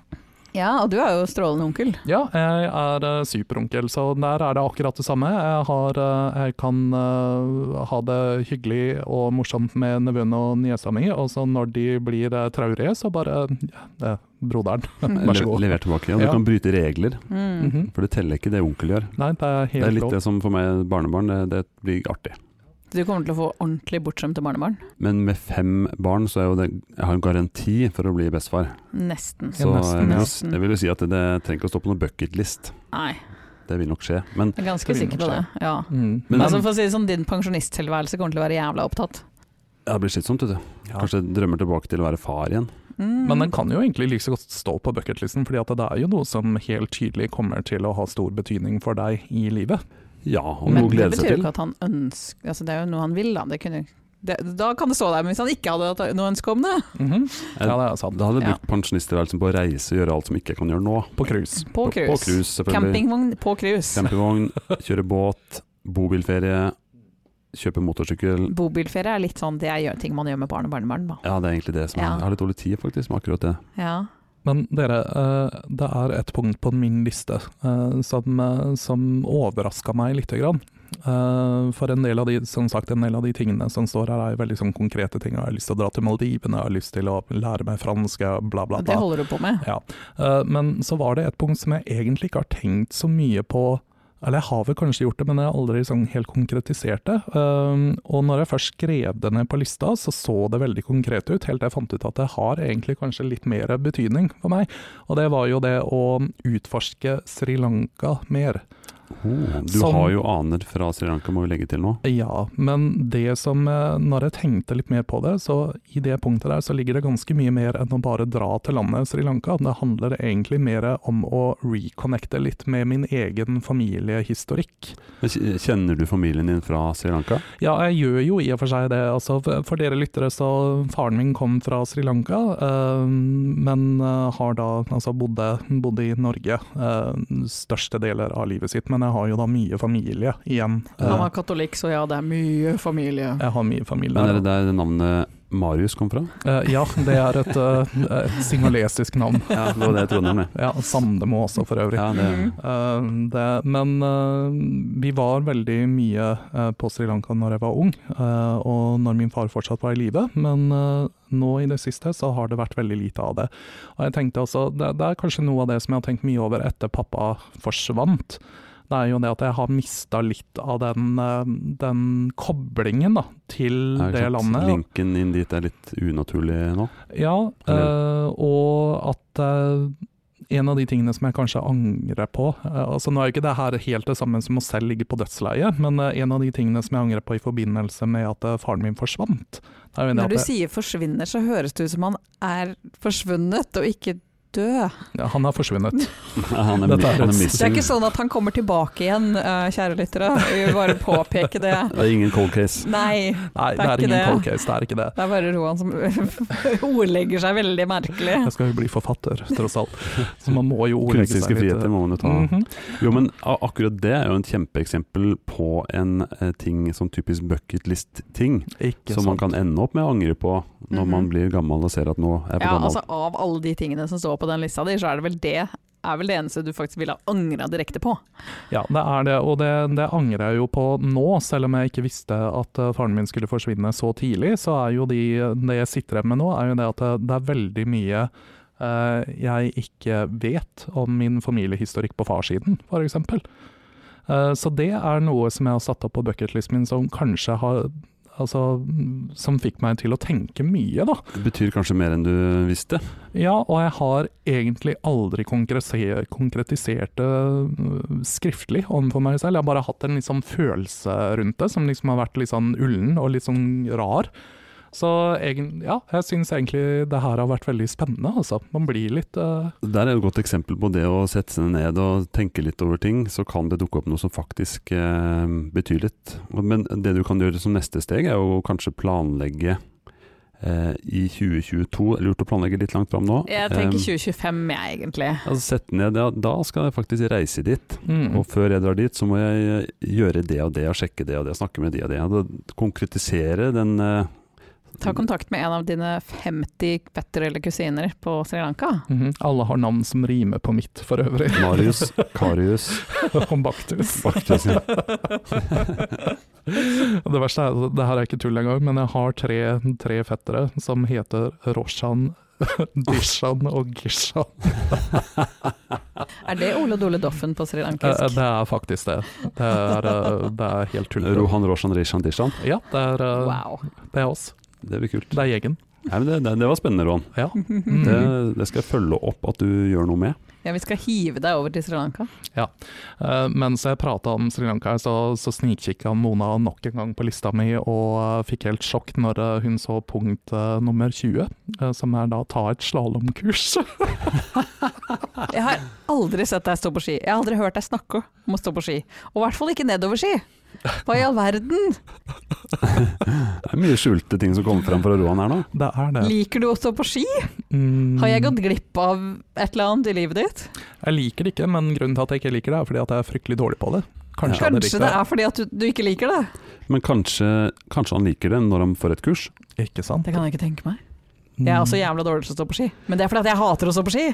Ja, og du er jo strålende onkel. Ja, jeg er eh, superonkel, så der er det akkurat det samme. Jeg, har, eh, jeg kan eh, ha det hyggelig og morsomt med nevøen og niesa mi, og så når de blir eh, traurige, så bare ja, det er broderen. Mm. Vær så god. Le- Lever tilbake. Og Ja. du kan bryte regler, Mm. Mhm. for det teller ikke det onkel gjør. Nei, det er Det er helt litt lov. det som for meg barnebarn, det, det blir artig. Du kommer til å få ordentlig bortskjemte barnebarn. Men med fem barn så er jo det Jeg har en garanti for å bli bestefar. Nesten. Så Ja, jeg nesten, vil, jo, nesten. jeg vil jo si at det, det trenger ikke å stå på noen bucketlist. Nei, Det vil nok skje. Men jeg er ganske Det vil sikker nok på det. Ja. Mm. Men- altså, for å si det sånn, din pensjonisttilværelse kommer til å være jævla opptatt. ja, det blir slitsomt, vet du. Ja. Kanskje jeg drømmer tilbake til å være far igjen. Mm. Men den kan jo egentlig like så godt stå på bucketlisten, fordi at det er jo noe som helt tydelig kommer til å ha stor betydning for deg i livet. Ja, og Men noe å det glede betyr seg jo til. ikke at han ønsker altså, Det er jo noe han vil, da. Det kunne, det, da kan det stå der. Men hvis han ikke hadde hatt noe ønske om det Mhm. Ja, det er sant. Da hadde jeg Ja. brukt pensjonisttilværelsen på å reise og gjøre alt som ikke jeg kan gjøre nå. På cruise. På På cruise. cruise, selvfølgelig. Campingvogn på cruise. Campingvogn, kjøre båt, bobilferie, kjøpe motorsykkel. Bobilferie er litt sånn det er gjør- ting man gjør med barn og barnebarn. Da. Ja, det er egentlig det som er Ja. Jeg har litt dårlig tid faktisk med akkurat det. Ja. Men dere, eh, det er et punkt på min liste eh, som, eh, som overraska meg lite grann. Eh, For en del, av de, som sagt, en del av de tingene som står her, er jo veldig sånn konkrete ting. Jeg har lyst til å dra til Maldivene, jeg har lyst til å lære meg fransk, jeg- bla, bla, Det bla. holder du på med. Ja. Eh, Men så var det et punkt som jeg egentlig ikke har tenkt så mye på. Eller jeg har vel kanskje gjort det, men jeg har aldri sånn helt konkretisert det. Eh, og når jeg først skrev det ned på lista, så så det veldig konkret ut, helt til jeg fant ut at det har egentlig kanskje litt mer betydning for meg. Og det var jo det å utforske Sri Lanka mer. Du Som- har jo aner fra Sri Lanka, må vi legge til nå. Ja, men det som eh, Når jeg tenkte litt mer på det, så i det punktet der så ligger det ganske mye mer enn å bare dra til landet Sri Lanka. Det handler egentlig mer om å reconnecte litt med min egen familiehistorikk. Men kj- Kjenner du familien din fra Sri Lanka? Ja, jeg gjør jo i og for seg det. Altså, for- for dere lyttere, så faren min kom fra Sri Lanka, eh, men eh, har da altså bodde, bodde i Norge eh, største deler av livet sitt. Men jeg har jo da mye familie igjen. Han Eh, var katolikk, så ja, det er mye familie. Jeg har mye familie. Men er det der navnet Marius kom fra? Eh, ja, det er et, eh, et singolesisk navn. Ja, det var det jeg trodde om det. Ja, Sandemo også, for øvrig. Ja, det, Mhm. Eh, det, men eh, vi var veldig mye eh, på Sri Lanka når jeg var ung, eh, og når min far fortsatt var i live. Men eh, nå i det siste så har det vært veldig lite av det. Og jeg tenkte også, det, det er kanskje noe av det som jeg har tenkt mye over etter pappa forsvant. Det er jo det at jeg har mista litt av den, eh, den koblingen da, til Ja, ikke sant? det landet. Linken inn dit er litt unaturlig nå. Ja, eh, og at eh, en av de tingene som jeg kanskje angrer på eh, altså Nå er jo ikke det her helt det samme som å selv ligge på dødsleiet, men eh, en av de tingene som jeg angrer på i forbindelse med at eh, faren min forsvant det er jo det Når at du jeg, sier forsvinner, så høres det ut som han er forsvunnet og ikke død. ja, Han har forsvunnet. Han er, Dette han er er et- Det er missing. ikke sånn at han kommer tilbake igjen, eh, kjære lyttere. Jeg vil bare påpeke det. Det er ingen cold case. Nei, Nei, det er, ikke ingen det. cold case, det er ikke det. det er bare Roan som ordlegger seg veldig merkelig. Jeg skal jo bli forfatter, tross alt, så man må jo ordlegge seg Kunstneriske litt. eh, friheter må man jo ta. Mhm. Jo, men a- akkurat det er jo et kjempeeksempel på en eh, ting, sånn typisk bucketlist-ting. Ikke Som man sant. Mm-hmm. kan ende opp med å angre på når Mhm. man blir gammel og ser at nå er jeg på Ja, gammel. altså Av alle de tingene som står på den lista di, så er det vel det er vel det eneste du faktisk ville ha angra direkte på. Ja, det er det, og det, det angrer jeg jo på nå, selv om jeg ikke visste at eh, faren min skulle forsvinne så tidlig. Så er jo de, det jeg sitter igjen med nå, er jo det at det, det er veldig mye eh, jeg ikke vet om min familiehistorikk på farssiden, f.eks. Uh, så det er noe som jeg har satt opp på bucketlisten min som kanskje har Altså, som fikk meg til å tenke mye, da. Det betyr kanskje mer enn du visste. Ja, og jeg har egentlig aldri konkrese- konkretisert det øh, skriftlig overfor meg selv. Jeg har bare hatt en litt sånn følelse rundt det, som liksom har vært litt sånn ullen og litt sånn rar. Så egen, ja, jeg syns egentlig det her har vært veldig spennende, altså. Man blir litt øh, Der er jo et godt eksempel på det å sette seg ned og tenke litt over ting, så kan det dukke opp noe som faktisk eh, betyr litt. Men det du kan gjøre som neste steg, er jo kanskje planlegge eh, i 2022. Lurt å planlegge litt langt fram nå. Jeg Eh, tenker 2025, jeg, egentlig. altså sette ned, ja, da skal jeg faktisk reise dit. mm. Og før jeg drar dit, så må jeg eh, gjøre det og det, og sjekke det og det, og snakke med de og det. Og konkretisere den eh, Ta kontakt med en av dine 50 fettere eller kusiner på Sri Lanka. Mhm. Alle har navn som rimer på mitt, for øvrig. Marius, Karius Om Baktus. Baktus, ja. Og Det verste er, altså, det her er ikke tull engang, men jeg har tre, tre fettere som heter Roshan, Dishan og Gishan. Er det Ole Dole Doffen på Sri Eh, Lankisk? Det er faktisk det. Det er, eh, det er helt tullete. Rohan Roshan Rishan Dishan. Ja, det er, eh, Wow. det er oss. Det blir kult. Det er gjengen. Nei, men det, det, det var spennende, Rohan. Ja. Det, Mm. det skal jeg følge opp at du gjør noe med. Ja, vi skal hive deg over til Sri Lanka. Eh, Mens jeg prata om Sri Lanka, her, så, så snikkikka Mona nok en gang på lista mi og eh, fikk helt sjokk når eh, hun så punkt eh, nummer 20, eh, som er da ta et slalåmkurs. Jeg har aldri sett deg stå på ski. Jeg har aldri hørt deg snakke om å stå på ski. Og i hvert fall ikke nedoverski. Hva i all verden? Det er mye skjulte ting som kommer frem fra Rohan her nå. Det er det. Liker du å stå på ski? Mm. Har jeg gått glipp av et eller annet i livet ditt? Jeg liker det ikke, men grunnen til at jeg ikke liker det, er fordi at jeg er fryktelig dårlig på det. Kanskje, jeg hadde likt Kanskje det er fordi at du, du ikke liker det? Men kanskje, kanskje han liker det når han får et kurs. Ikke sant? Det kan jeg ikke tenke meg. Jeg er også jævla dårlig til å stå på ski. Men det er fordi at jeg hater å stå på ski.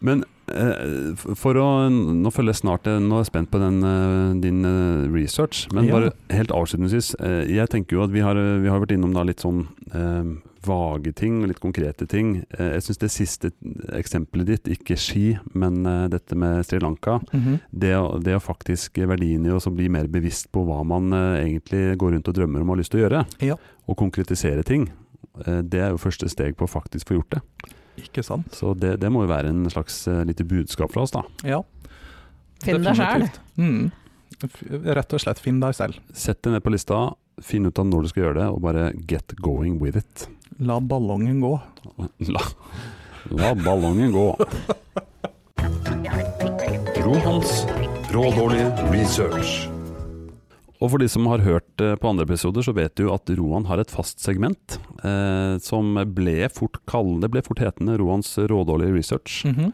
Men eh, f- for å Nå følger jeg snart Nå er jeg spent på den, eh, din eh, research. Men Ja. bare helt avslutningsvis. eh, jeg tenker jo at vi har, eh, vi har vært innom da litt sånn eh, vage ting, litt konkrete ting. Eh, jeg syns det siste eksempelet ditt, ikke ski, men eh, dette med Sri Lanka. Mhm. det, å- det å faktisk verdien i å så bli mer bevisst på hva man eh, egentlig går rundt og drømmer om og har lyst til å gjøre, Ja. og konkretisere ting, eh, det er jo første steg på å faktisk få gjort det. Ikke sant? Så det, det må jo være en slags eh, lite budskap fra oss, da. Ja. Finn deg sjæl. Definitivt. Mm. F- Rett og slett finn deg selv. Sett det ned på lista, finn ut av når du skal gjøre det, og bare get going with it. La ballongen gå. La, la ballongen gå. Rohans rådårlige research. Og for de som har hørt eh, på andre episoder, så vet du jo at Roan har et fast segment eh, som ble fort kallende, ble fort hetende Roans rådårlige research. Mhm.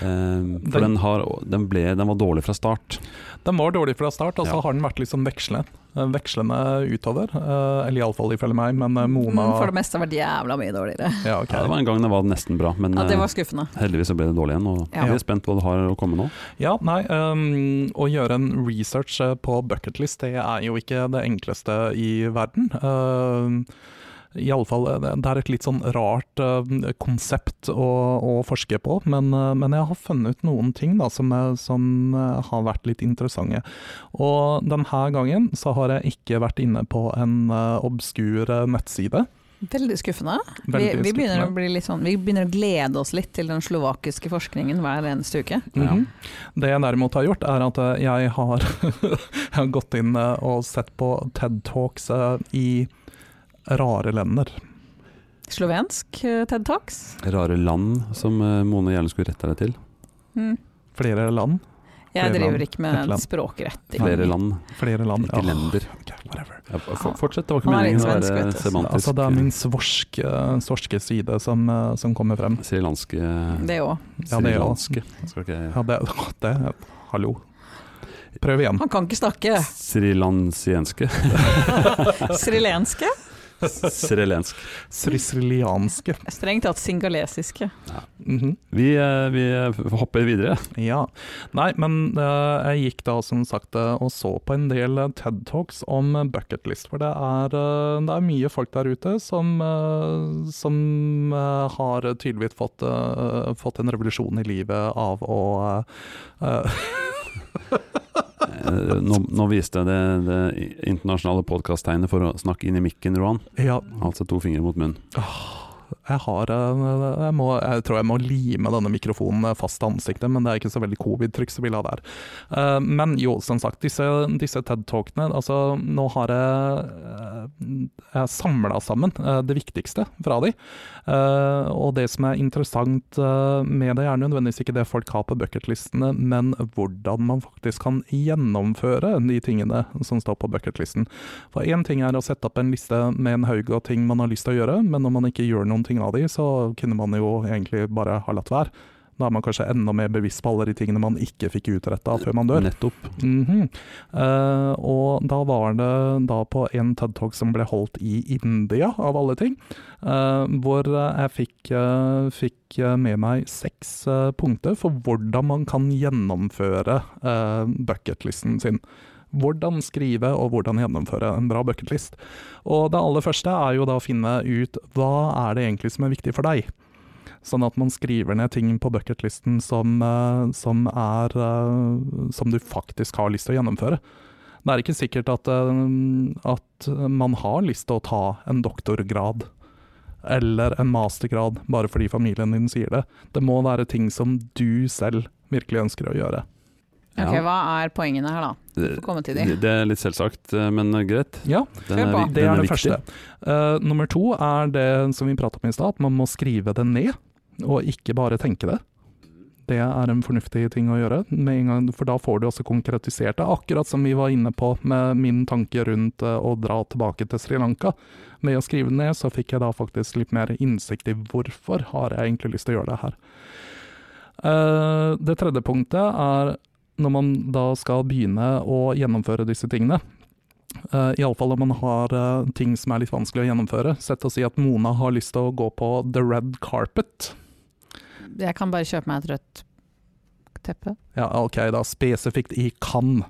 Eh, Den- for den, har, den, ble, den var dårlig fra start. Den var dårlig fra start, og så Ja. har den vært litt sånn vekslende, vekslende utover. Eh, Eller iallfall ifølge meg, men eh, Mm, For Mona det meste har vært jævla mye dårligere. ja, ok. Ja, det var en gang den var nesten bra, men Ja, det var eh, skuffende. heldigvis så ble det dårlig igjen. Og Ja. Vi er spent på hva du har å komme nå. Ja, nei, ehm, å gjøre en research eh, på bucketlist, det er jo ikke det enkleste i verden. Ehm, i alle fall, eh, det er et litt sånn rart eh, konsept å, å forske på, men, eh, men jeg har funnet ut noen ting da, som, eh, som eh, har vært litt interessante. Og denne gangen så har jeg ikke vært inne på en eh, obskur eh, nettside. Veldig skuffende. Vi, Veldig vi, begynner skuffende. å bli litt sånn, vi begynner å glede oss litt til den slovakiske forskningen hver eneste uke. Mhm. Det jeg derimot har gjort, er at eh, jeg har, jeg har gått inn eh, og sett på TED Talks eh, i rare lander. Slovensk eh, TED Talks. Rare land som eh, Mone gjerne skulle rette deg til. Mm. Flere land. Jeg Flere land. driver ikke Et med land. språkretting. Flere land, Flere land. ikke Åh, lender. ok, whatever. Ja, for, fortsett, det var ikke Han er meningen litt å svensk, være vet du. semantisk. Altså, det er min svorsk, eh, svorske side som, eh, som kommer frem. Srilanske Det òg. Ja, det er jo- Srilanske. Skal ikke jeg- Ja, det, åh, det Hallo. Prøv igjen. Han kan ikke snakke. Srilansienske. Srilenske? Srilensk. Srisilianske. Strengt tatt singalesiske. Mhm. Vi, eh, vi hopper videre. Ja. Nei, men eh, jeg gikk da som sagt eh, og så på en del eh, TED Talks om eh, bucket list, for det er, eh, det er mye folk der ute som, eh, som eh, har tydeligvis fått, eh, fått en revolusjon i livet av å eh, eh, Eh, Nå, nå viste jeg det, det internasjonale podkasttegnet for å snakke inn i mikken, Roan. Ja, Altså to fingre mot munnen. jeg har eh, jeg, må, jeg tror jeg må lime denne mikrofonen fast til ansiktet, men det er ikke så veldig covid-triks vi vil ha der. Eh, Men jo, som sagt, disse, disse TED-talkene Altså, nå har jeg eh, Jeg samla sammen eh, det viktigste fra de. Eh, Og det som er interessant eh, med det, er nødvendigvis ikke det folk har på bucketlistene, men hvordan man faktisk kan gjennomføre de tingene som står på bucketlisten. For én ting er å sette opp en liste med en haug av ting man har lyst til å gjøre, men når man ikke gjør noen ting av de, så kunne man jo egentlig bare ha latt være. Da er man kanskje enda mer bevisst på alle de tingene man ikke fikk utretta før man dør. Nettopp. Mhm. Eh, og da var det da på en TED Talk som ble holdt i India, av alle ting, eh, hvor eh, jeg fikk, eh, fikk eh, med meg seks eh, punkter for hvordan man kan gjennomføre eh, bucketlisten sin. Hvordan skrive og hvordan gjennomføre en bra bucketlist. Og det aller første er jo da å finne ut hva er det egentlig som er viktig for deg. Sånn at man skriver ned ting på bucketlisten som, eh, som, er, eh, som du faktisk har lyst til å gjennomføre. Det er ikke sikkert at, eh, at man har lyst til å ta en doktorgrad eller en mastergrad bare fordi familien din sier det. Det må være ting som du selv virkelig ønsker å gjøre. Ok, Ja. Hva er poengene her, da? Det, Få komme til de. det er litt selvsagt, eh, men greit. Ja, Den Kjør er, på. vi- det den er er det viktig. første. Eh, nummer to er det som vi pratet om i stad, at man må skrive det ned, og ikke bare tenke det. Det er en fornuftig ting å gjøre, med en gang, for da får du også konkretisert det. Akkurat som vi var inne på med min tanke rundt eh, å dra tilbake til Sri Lanka. Med å skrive det ned, så fikk jeg da faktisk litt mer innsikt i hvorfor har jeg egentlig lyst til å gjøre det her. Eh, det tredje punktet er når man da skal begynne å gjennomføre disse tingene, Uh, Iallfall om man har eh, ting som er litt vanskelig å gjennomføre. Sett å si at Mona har lyst til å gå på the red carpet. Jeg kan bare kjøpe meg et rødt teppe. Ja, ok, da spesifikt i Cannes.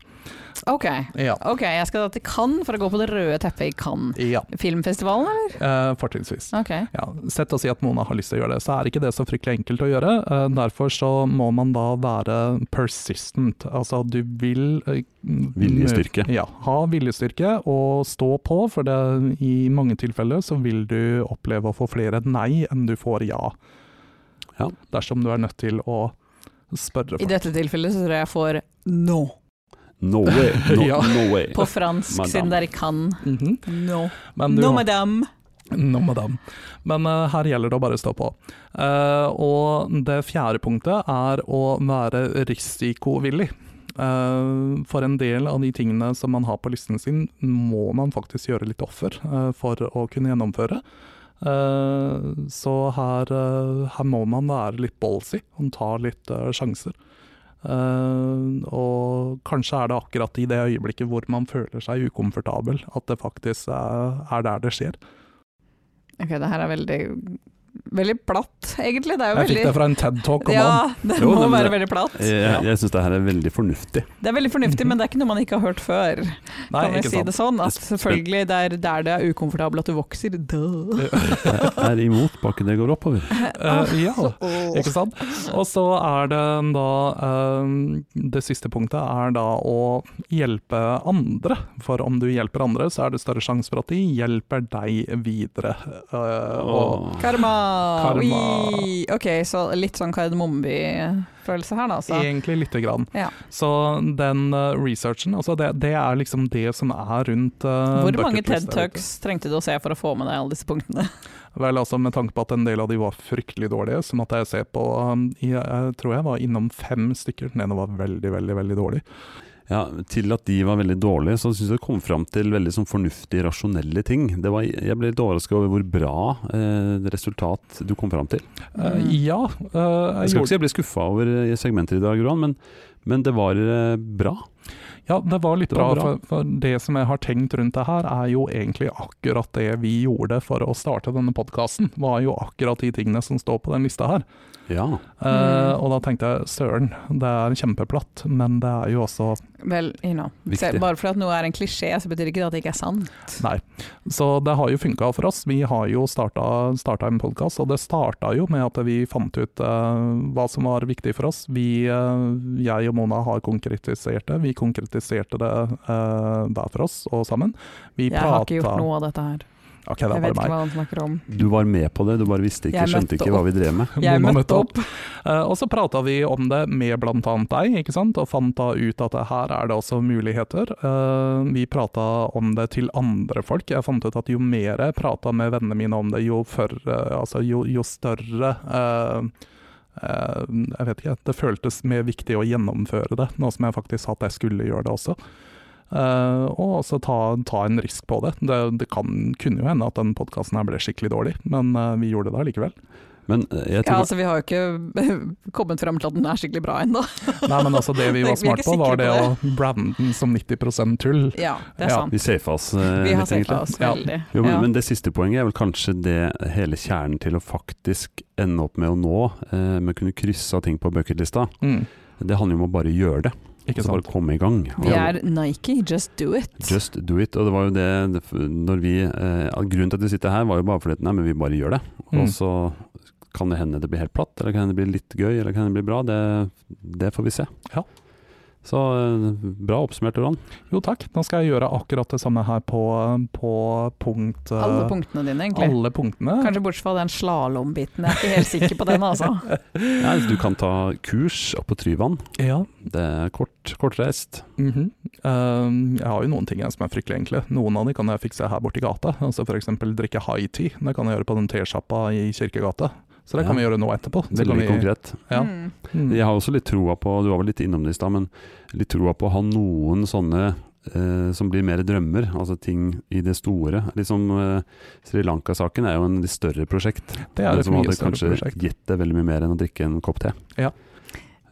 Ok, Ja. ok, jeg skal da til Cannes for å gå på det røde teppet i Cannes. ja. Filmfestivalen, eller? eh, fortrinnsvis. Ok. Ja, sett å si at Mona har lyst til å gjøre det, så er ikke det så fryktelig enkelt å gjøre. Eh, Derfor så må man da være persistent. Altså du vil eh, Viljestyrke. Ja, ha viljestyrke og stå på, for det, i mange tilfeller så vil du oppleve å få flere nei enn du får ja. Ja. Dersom du er nødt til å spørre I folk. dette tilfellet så tror jeg jeg får no. No way. No, Ja. no way. På fransk, Madame. siden det er i Cannes. Mhm. No. Men du No, har- madame. No, madame. Men eh, her gjelder det å bare stå på. Eh, og det fjerde punktet er å være risikovillig. Eh, for en del av de tingene som man har på listen sin, må man faktisk gjøre litt offer eh, for å kunne gjennomføre. Eh, så her, eh, her må man være litt ballsy og ta litt eh, sjanser. Eh, og kanskje er det akkurat i det øyeblikket hvor man føler seg ukomfortabel, at det faktisk er, er der det skjer. Ok, det her er veldig, veldig platt, egentlig. Det er jo Jeg fikk det veldig fra en TED-talk om ja, han. det Jo, må men være det- veldig platt. Jeg, jeg syns det her er veldig fornuftig. Det er veldig fornuftig, men det er ikke noe man ikke har hørt før. Mhm. Nei, kan vi ikke si det sånn? sant. At selvfølgelig, det er der det er ukomfortabelt at du vokser. Duh. Jeg er imot bakken det går oppover. Eh, ja, ikke sant? Og så er det da eh, Det siste punktet er da å hjelpe andre. For om du hjelper andre, så er det større sjanse for at de hjelper deg videre. Eh, og Åh. Karma! Karma. Oi. Ok, så litt sånn kardemommeby-følelse her, da. Altså. Egentlig lite grann. Ja. Så den eh, researchen, altså det, det er liksom det som er rundt eh, Hvor mange bucket list TED der ute. Talks trengte du å se for å få med deg alle disse punktene? Vel, altså Med tanke på at en del av de var fryktelig dårlige, så måtte jeg se på um, jeg, jeg tror jeg var innom fem stykker. Den ene var veldig, veldig veldig dårlig. Ja, Til at de var veldig dårlige, så syns jeg det kom fram til veldig sånn fornuftige, rasjonelle ting. Det var, jeg ble litt overraska over hvor bra eh, resultat du kom fram til. Eh, Mm. ja, eh, Jeg jeg skal ikke gjorde si jeg ble skuffa over eh, segmenter i dag, Roan, men, Men det var eh, bra. Ja, det var litt Det var bra, bra. For, for det som jeg har tenkt rundt det her, er jo egentlig akkurat det vi gjorde for å starte denne podkasten. Var jo akkurat de tingene som står på den lista her. Ja. Eh, Mm. og da tenkte jeg søren, det er kjempeplatt, men det er jo også Vel, you know. Viktig. Se, bare fordi at noe er en klisjé, så betyr ikke det at det ikke er sant. Nei. Så det har jo funka for oss. Vi har jo starta, starta en podkast, og det starta jo med at vi fant ut eh, hva som var viktig for oss. Vi, eh, jeg og Mona har konkretisert det. Vi konkretiserte det eh, hver for oss og sammen. Vi Jeg har ikke prata- gjort noe av dette her. Ok, det Jeg er vet bare ikke meg. hva han snakker om. Du var med på det, du bare visste ikke, Jeg skjønte møtte ikke hva vi drev med. Jeg Mona møtte opp. Eh, og så prata vi om det med bl.a. deg, ikke sant? og fant da ut at det her er det også muligheter. Eh, vi prata om det til andre folk. Jeg fant ut at jo mer jeg prata med vennene mine om det, jo, før, eh, altså, jo, jo større eh, eh, Jeg vet ikke, det føltes mer viktig å gjennomføre det, nå som jeg faktisk sa at jeg skulle gjøre det også. Eh, og også ta, ta en risk på det. Det, det kan, kunne jo hende at den podkasten her ble skikkelig dårlig, men eh, vi gjorde det allikevel. Men eh, jeg Ja, tror altså, vi har jo ikke kommet fram til at den er skikkelig bra ennå. Nei, men altså det vi Vi er var ikke smart på, sikre var på det å brande den som 90 tull. Ja, det er Ja, sant. vi safa oss eh, altså, Vi har litt, egentlig. sikra oss Ja. veldig. Jo, men, Ja. men det siste poenget er vel kanskje det hele kjernen til å faktisk ende opp med å nå, eh, med å kunne krysse av ting på bucketlista. Mm, Det handler jo om å bare gjøre det. ikke Altså sant. bare komme i gang. Og- Vi er Nike, just do it. Just do it. Og det var jo det det- når vi eh, at Grunnen til at vi sitter her, var jo bare fordi at nei, men vi bare gjør det. Mm. Og så kan det hende det blir helt platt, eller kan det bli litt gøy, eller kan det bli bra. Det, det får vi se. Ja. Så eh, bra oppsummert, Oran. Jo takk, nå skal jeg gjøre akkurat det samme her på, på punkt uh, eh, Alle punktene dine, egentlig. alle punktene. Kanskje bortsett fra den slalåmbiten, jeg er ikke helt sikker på den, altså. Ja, du kan ta kurs opp på Tryvann. Ja. Det er kort, kortreist. mhm. Eh, jeg har jo noen ting her som er fryktelig enkle. Noen av de kan jeg fikse her borti gata. Altså F.eks. drikke high tea. Det kan jeg gjøre på den tesjappa i Kirkegata. Så det Ja. kan vi gjøre nå etterpå. Så kan Veldig vi, konkret. Ja. Mm. Mm. Jeg har også litt troa på, du var vel litt innom det i stad, men litt troa på å ha noen sånne eh, som blir mer drømmer, altså ting i det store. Liksom eh, Sri Lanka-saken er jo en litt større prosjekt. Det er men et som mye hadde større kanskje prosjekt. gitt deg veldig mye mer enn å drikke en kopp te. Ja. Eller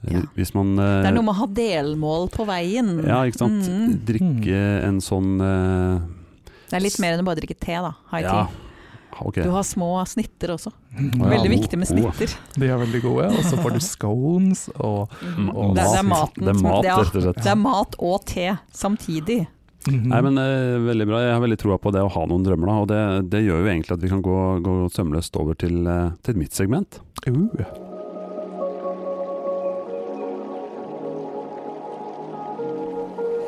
Ja. Hvis man eh, Det er noe med å ha delmål på veien. Ja, ikke sant. Mm. Drikke en sånn eh, Det er litt mer enn å bare drikke te, da. High Ja, Ah, tea. ok. Du har små snitter også. Ja, Veldig oh, viktig med oh. snitter. Mm. De er veldig gode. Og så får du scones og Mm. Mhm. og Det, er- det er mat. maten. Det er som- mat, ja, rett og slett. det er mat og te samtidig. Mhm. Nei, men eh, Veldig bra. Jeg har veldig troa på det å ha noen drømmer. Da. Og det, det gjør jo egentlig at vi kan gå, gå sømløst over til, eh, til mitt segment. Uh.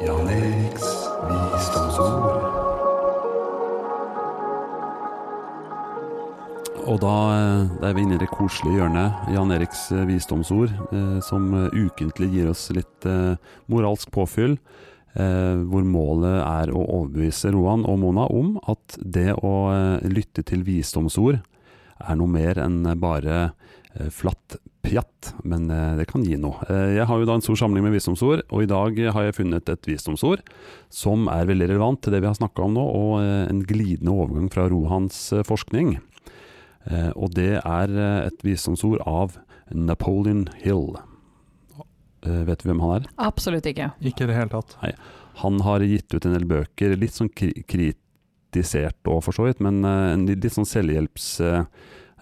Jan Eriks visdomsord. Og da eh, da er vi inne i det koselige hjørnet, Jan Eriks eh, visdomsord, eh, som eh, ukentlig gir oss litt eh, moralsk påfyll. eh, Hvor målet er å overbevise Roan og Mona om at det å eh, lytte til visdomsord er noe mer enn bare eh, flatt pjatt, men eh, det kan gi noe. Eh, Jeg har jo da en stor samling med visdomsord, og i dag eh, har jeg funnet et visdomsord som er veldig relevant til det vi har snakka om nå, og eh, en glidende overgang fra Rohans eh, forskning. Eh, og det er eh, et visdomsord av Napoleon Hill. Eh, vet du hvem han er? Absolutt ikke. Ikke i det hele tatt. Han har gitt ut en del bøker, litt sånn kri kritisert og for så vidt, men eh, en litt- litt sånn selvhjelps eh,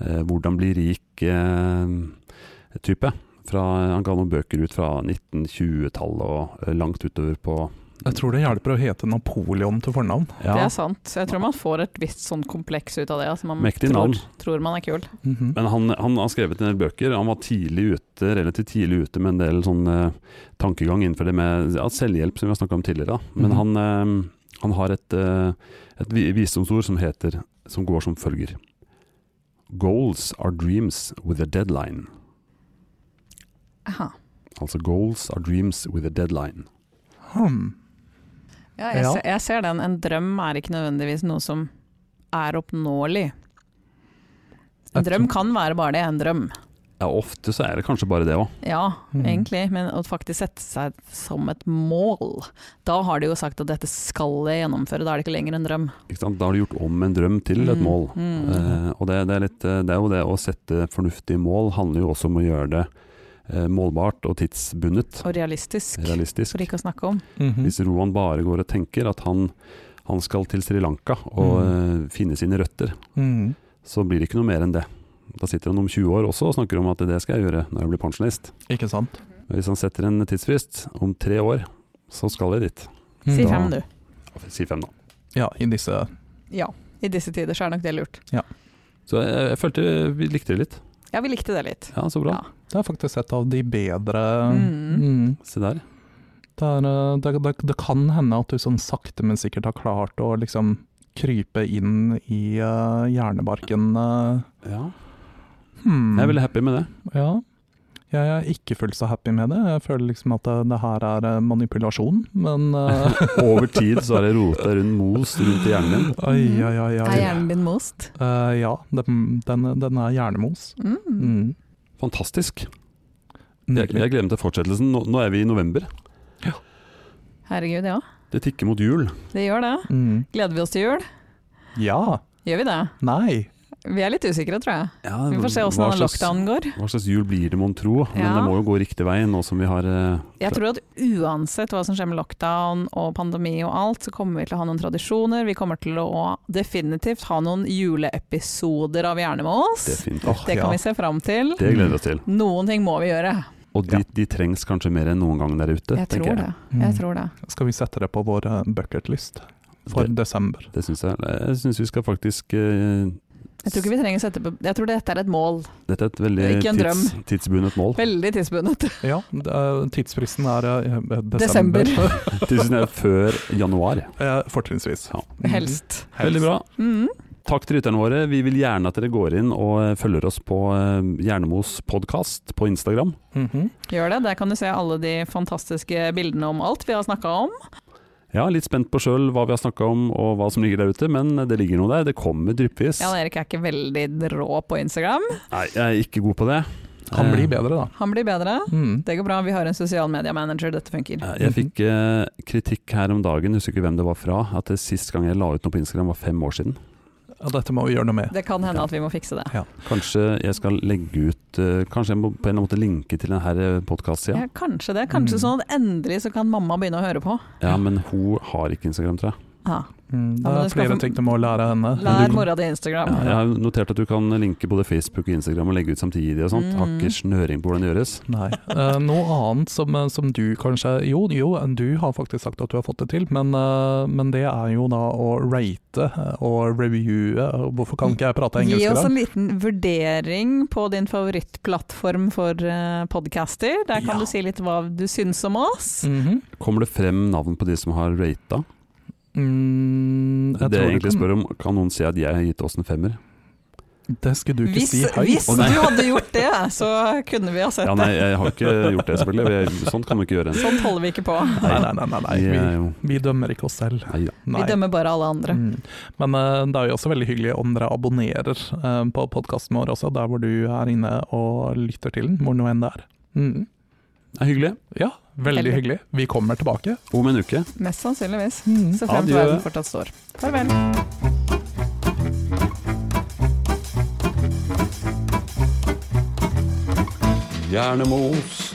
eh, hvordan bli rik eh, type. Fra, han ga noen bøker ut fra 1920-tallet og eh, langt utover på Jeg tror det hjelper å hete Napoleon til fornavn. Ja, Det er sant. Så jeg tror man får et visst sånn kompleks ut av det. Altså man Mektig tror, navn. tror man er kul. Mhm. Men han, han har skrevet en del bøker. Han var tidlig ute, relativt tidlig ute med en del sånn eh, tankegang innenfor det med ja, selvhjelp, som vi har snakka om tidligere. Da. Men Mhm. han, eh, han har et, eh, et vi- visdomsord som heter, som går som følger Goals are dreams with a deadline. Aha. Altså goals are dreams with a deadline. Hmm. Ja, jeg, Ja. Ser, jeg ser den. En drøm er ikke nødvendigvis noe som er oppnåelig. En Jeg drøm kan være bare det, en drøm. Ja, ofte så er det kanskje bare det òg. Ja, Mhm. egentlig. Men å faktisk sette seg som et mål. Da har de jo sagt at dette skal jeg gjennomføre, da er det ikke lenger en drøm. Ikke sant? Da har du gjort om en drøm til et Mm, mål. mm. Eh, og det, det, er litt, eh, det er jo det å sette fornuftige mål handler jo også om å gjøre det eh, målbart og tidsbundet. Og realistisk, Realistisk. for ikke å snakke om. Mhm. Hvis Roan bare går og tenker at han, han skal til Sri Lanka og Mm. eh, finne sine røtter, Mhm. så blir det ikke noe mer enn det. Da sitter han om 20 år også og snakker om at det skal jeg gjøre når jeg blir pensjonist. Ikke sant? Men Hvis han setter en tidsfrist om tre år, så skal jeg dit. Si Mhm. Da- fem, du. Si fem, da. Ja, i disse Ja. I disse tider så er nok det lurt. Så jeg, jeg følte vi likte det litt. Ja, vi likte det litt. Ja, så bra. Ja. Det er faktisk et av de bedre Mhm. Mhm. Se der. Det, er, eh, det, det, det kan hende at du sånn sakte, men sikkert har klart å liksom krype inn i eh, hjernebarken. eh. Ja. hmm. Jeg er veldig happy med det. Ja. Jeg er ikke fullt så happy med det. Jeg føler liksom at det, det her er eh, manipulasjon, men eh, Over tid så har jeg rota rundt mos rundt i hjernen din. Oi, oi, oi. oi. Er hjernen din most? Eh, ja, den, den, den er hjernemos. Mm. Mm. Fantastisk. Jeg, jeg gleder meg til fortsettelsen. Nå, nå er vi i november. Herregud, ja. Det tikker mot jul. Det gjør det. Mm. Gleder vi oss til jul? Ja. Gjør vi det? Nei. Vi er litt usikre, tror jeg. Ja, Vi får se åssen Mm. hva denne slags- lockdownen går. Hva slags jul blir det, mon tro? Men Ja. det må jo gå riktig vei nå som vi har eh, Jeg tror at uansett hva som skjer med lockdown og pandemi og alt, så kommer vi til å ha noen tradisjoner. Vi kommer til å definitivt ha noen juleepisoder av Hjerne med oss. det er fint. Ah, Åh, Det kan vi se fram til. Det gleder vi oss til. Noen ting må vi gjøre. Og de, Ja. de trengs kanskje mer enn noen gang der ute. Jeg Mm. tenker tror det. Jeg tror det. Skal vi sette det på vår eh, bucketlist for Det, desember? det syns jeg. Jeg syns vi skal faktisk eh, Jeg tror ikke vi trenger å sette på Jeg tror dette er et mål. Dette er et veldig Ikke en tids, tidsbundet mål. Veldig tidsbundet. Ja, det er- tidsfristen er eh, eh, Desember. desember. Tusen takk før januar. Eh, Fortrinnsvis. Ja. Mm. Mhm. Helst. Helst. Veldig bra. Mm. Takk til lytterne våre. Vi vil gjerne at dere går inn og eh, følger oss på eh, Hjernemos podkast på Instagram. Mhm. Gjør det. Der kan du se alle de fantastiske bildene om alt vi har snakka om. Ja, litt spent på sjøl hva vi har snakka om og hva som ligger der ute, men det ligger noe der. Det kommer dryppvis. Jan Erik er ikke veldig rå på Instagram. Nei, jeg er ikke god på det. Kan bli Eh, bedre, da. Han blir bedre. Mhm. Det går bra. Vi har en sosial media-manager. Dette funker. Eh, Jeg fikk eh, kritikk her om dagen, husker ikke hvem det var fra, at det sist gang jeg la ut noe på Instagram var fem år siden. Ja, Dette må vi gjøre noe med. Det kan hende at vi må fikse det. Kanskje jeg skal legge ut eh, Kanskje jeg må på en eller annen måte linke til eh, denne Ja, podkastsida. kanskje det. Kanskje Mm. sånn at endelig så kan mamma begynne å høre på. Ja, men hun har ikke Instagram, tror jeg. Ja. Mm, det Ja, men er det skal flere få- ting du må lære henne. Mm. Lær Du- mora di Instagram. Ja, jeg har notert at du kan linke både Facebook og Instagram og legge ut samtidig og sånt. Mm. Har ikke snøring på hvordan det gjøres. Nei. Eh, noe annet som, eh, som du kanskje Jo, jo, du har faktisk sagt at du har fått det til, men, eh, men det er jo da å rate eh, og reviewe. Hvorfor kan ikke jeg prate engelsk Gi i oss dag? en liten vurdering på din favorittplattform for eh, podcaster. Der kan Ja. du si litt hva du syns om oss. Mhm. Kommer det frem navn på de som har rata? Mm, Det jeg tror jeg du egentlig kan- spør om, kan noen si at jeg har gitt oss en femmer? Det skulle du ikke Hvis, si høyt. hvis Å, du nei. hadde gjort det, så kunne vi ha sett Ja, det. nei, jeg har ikke gjort det, selvfølgelig. Jeg- Sånt kan man ikke gjøre. Sånt holder vi ikke på. Nei, nei, nei. nei, nei. Vi er Vi, jo- vi dømmer ikke oss selv. Nei da. Nei. Vi dømmer bare alle andre. Mm. Men eh, det er jo også veldig hyggelig om dere abonnerer eh, på podkasten vår også, der hvor du er inne og lytter til den, hvor nå enn det er. Mm. Det er hyggelig. Ja, veldig Veldig. hyggelig. Vi kommer tilbake. Om en uke. Mest sannsynligvis. Mm. Så fremt Adjø. verden fortsatt står. Farvel. Hjernemos.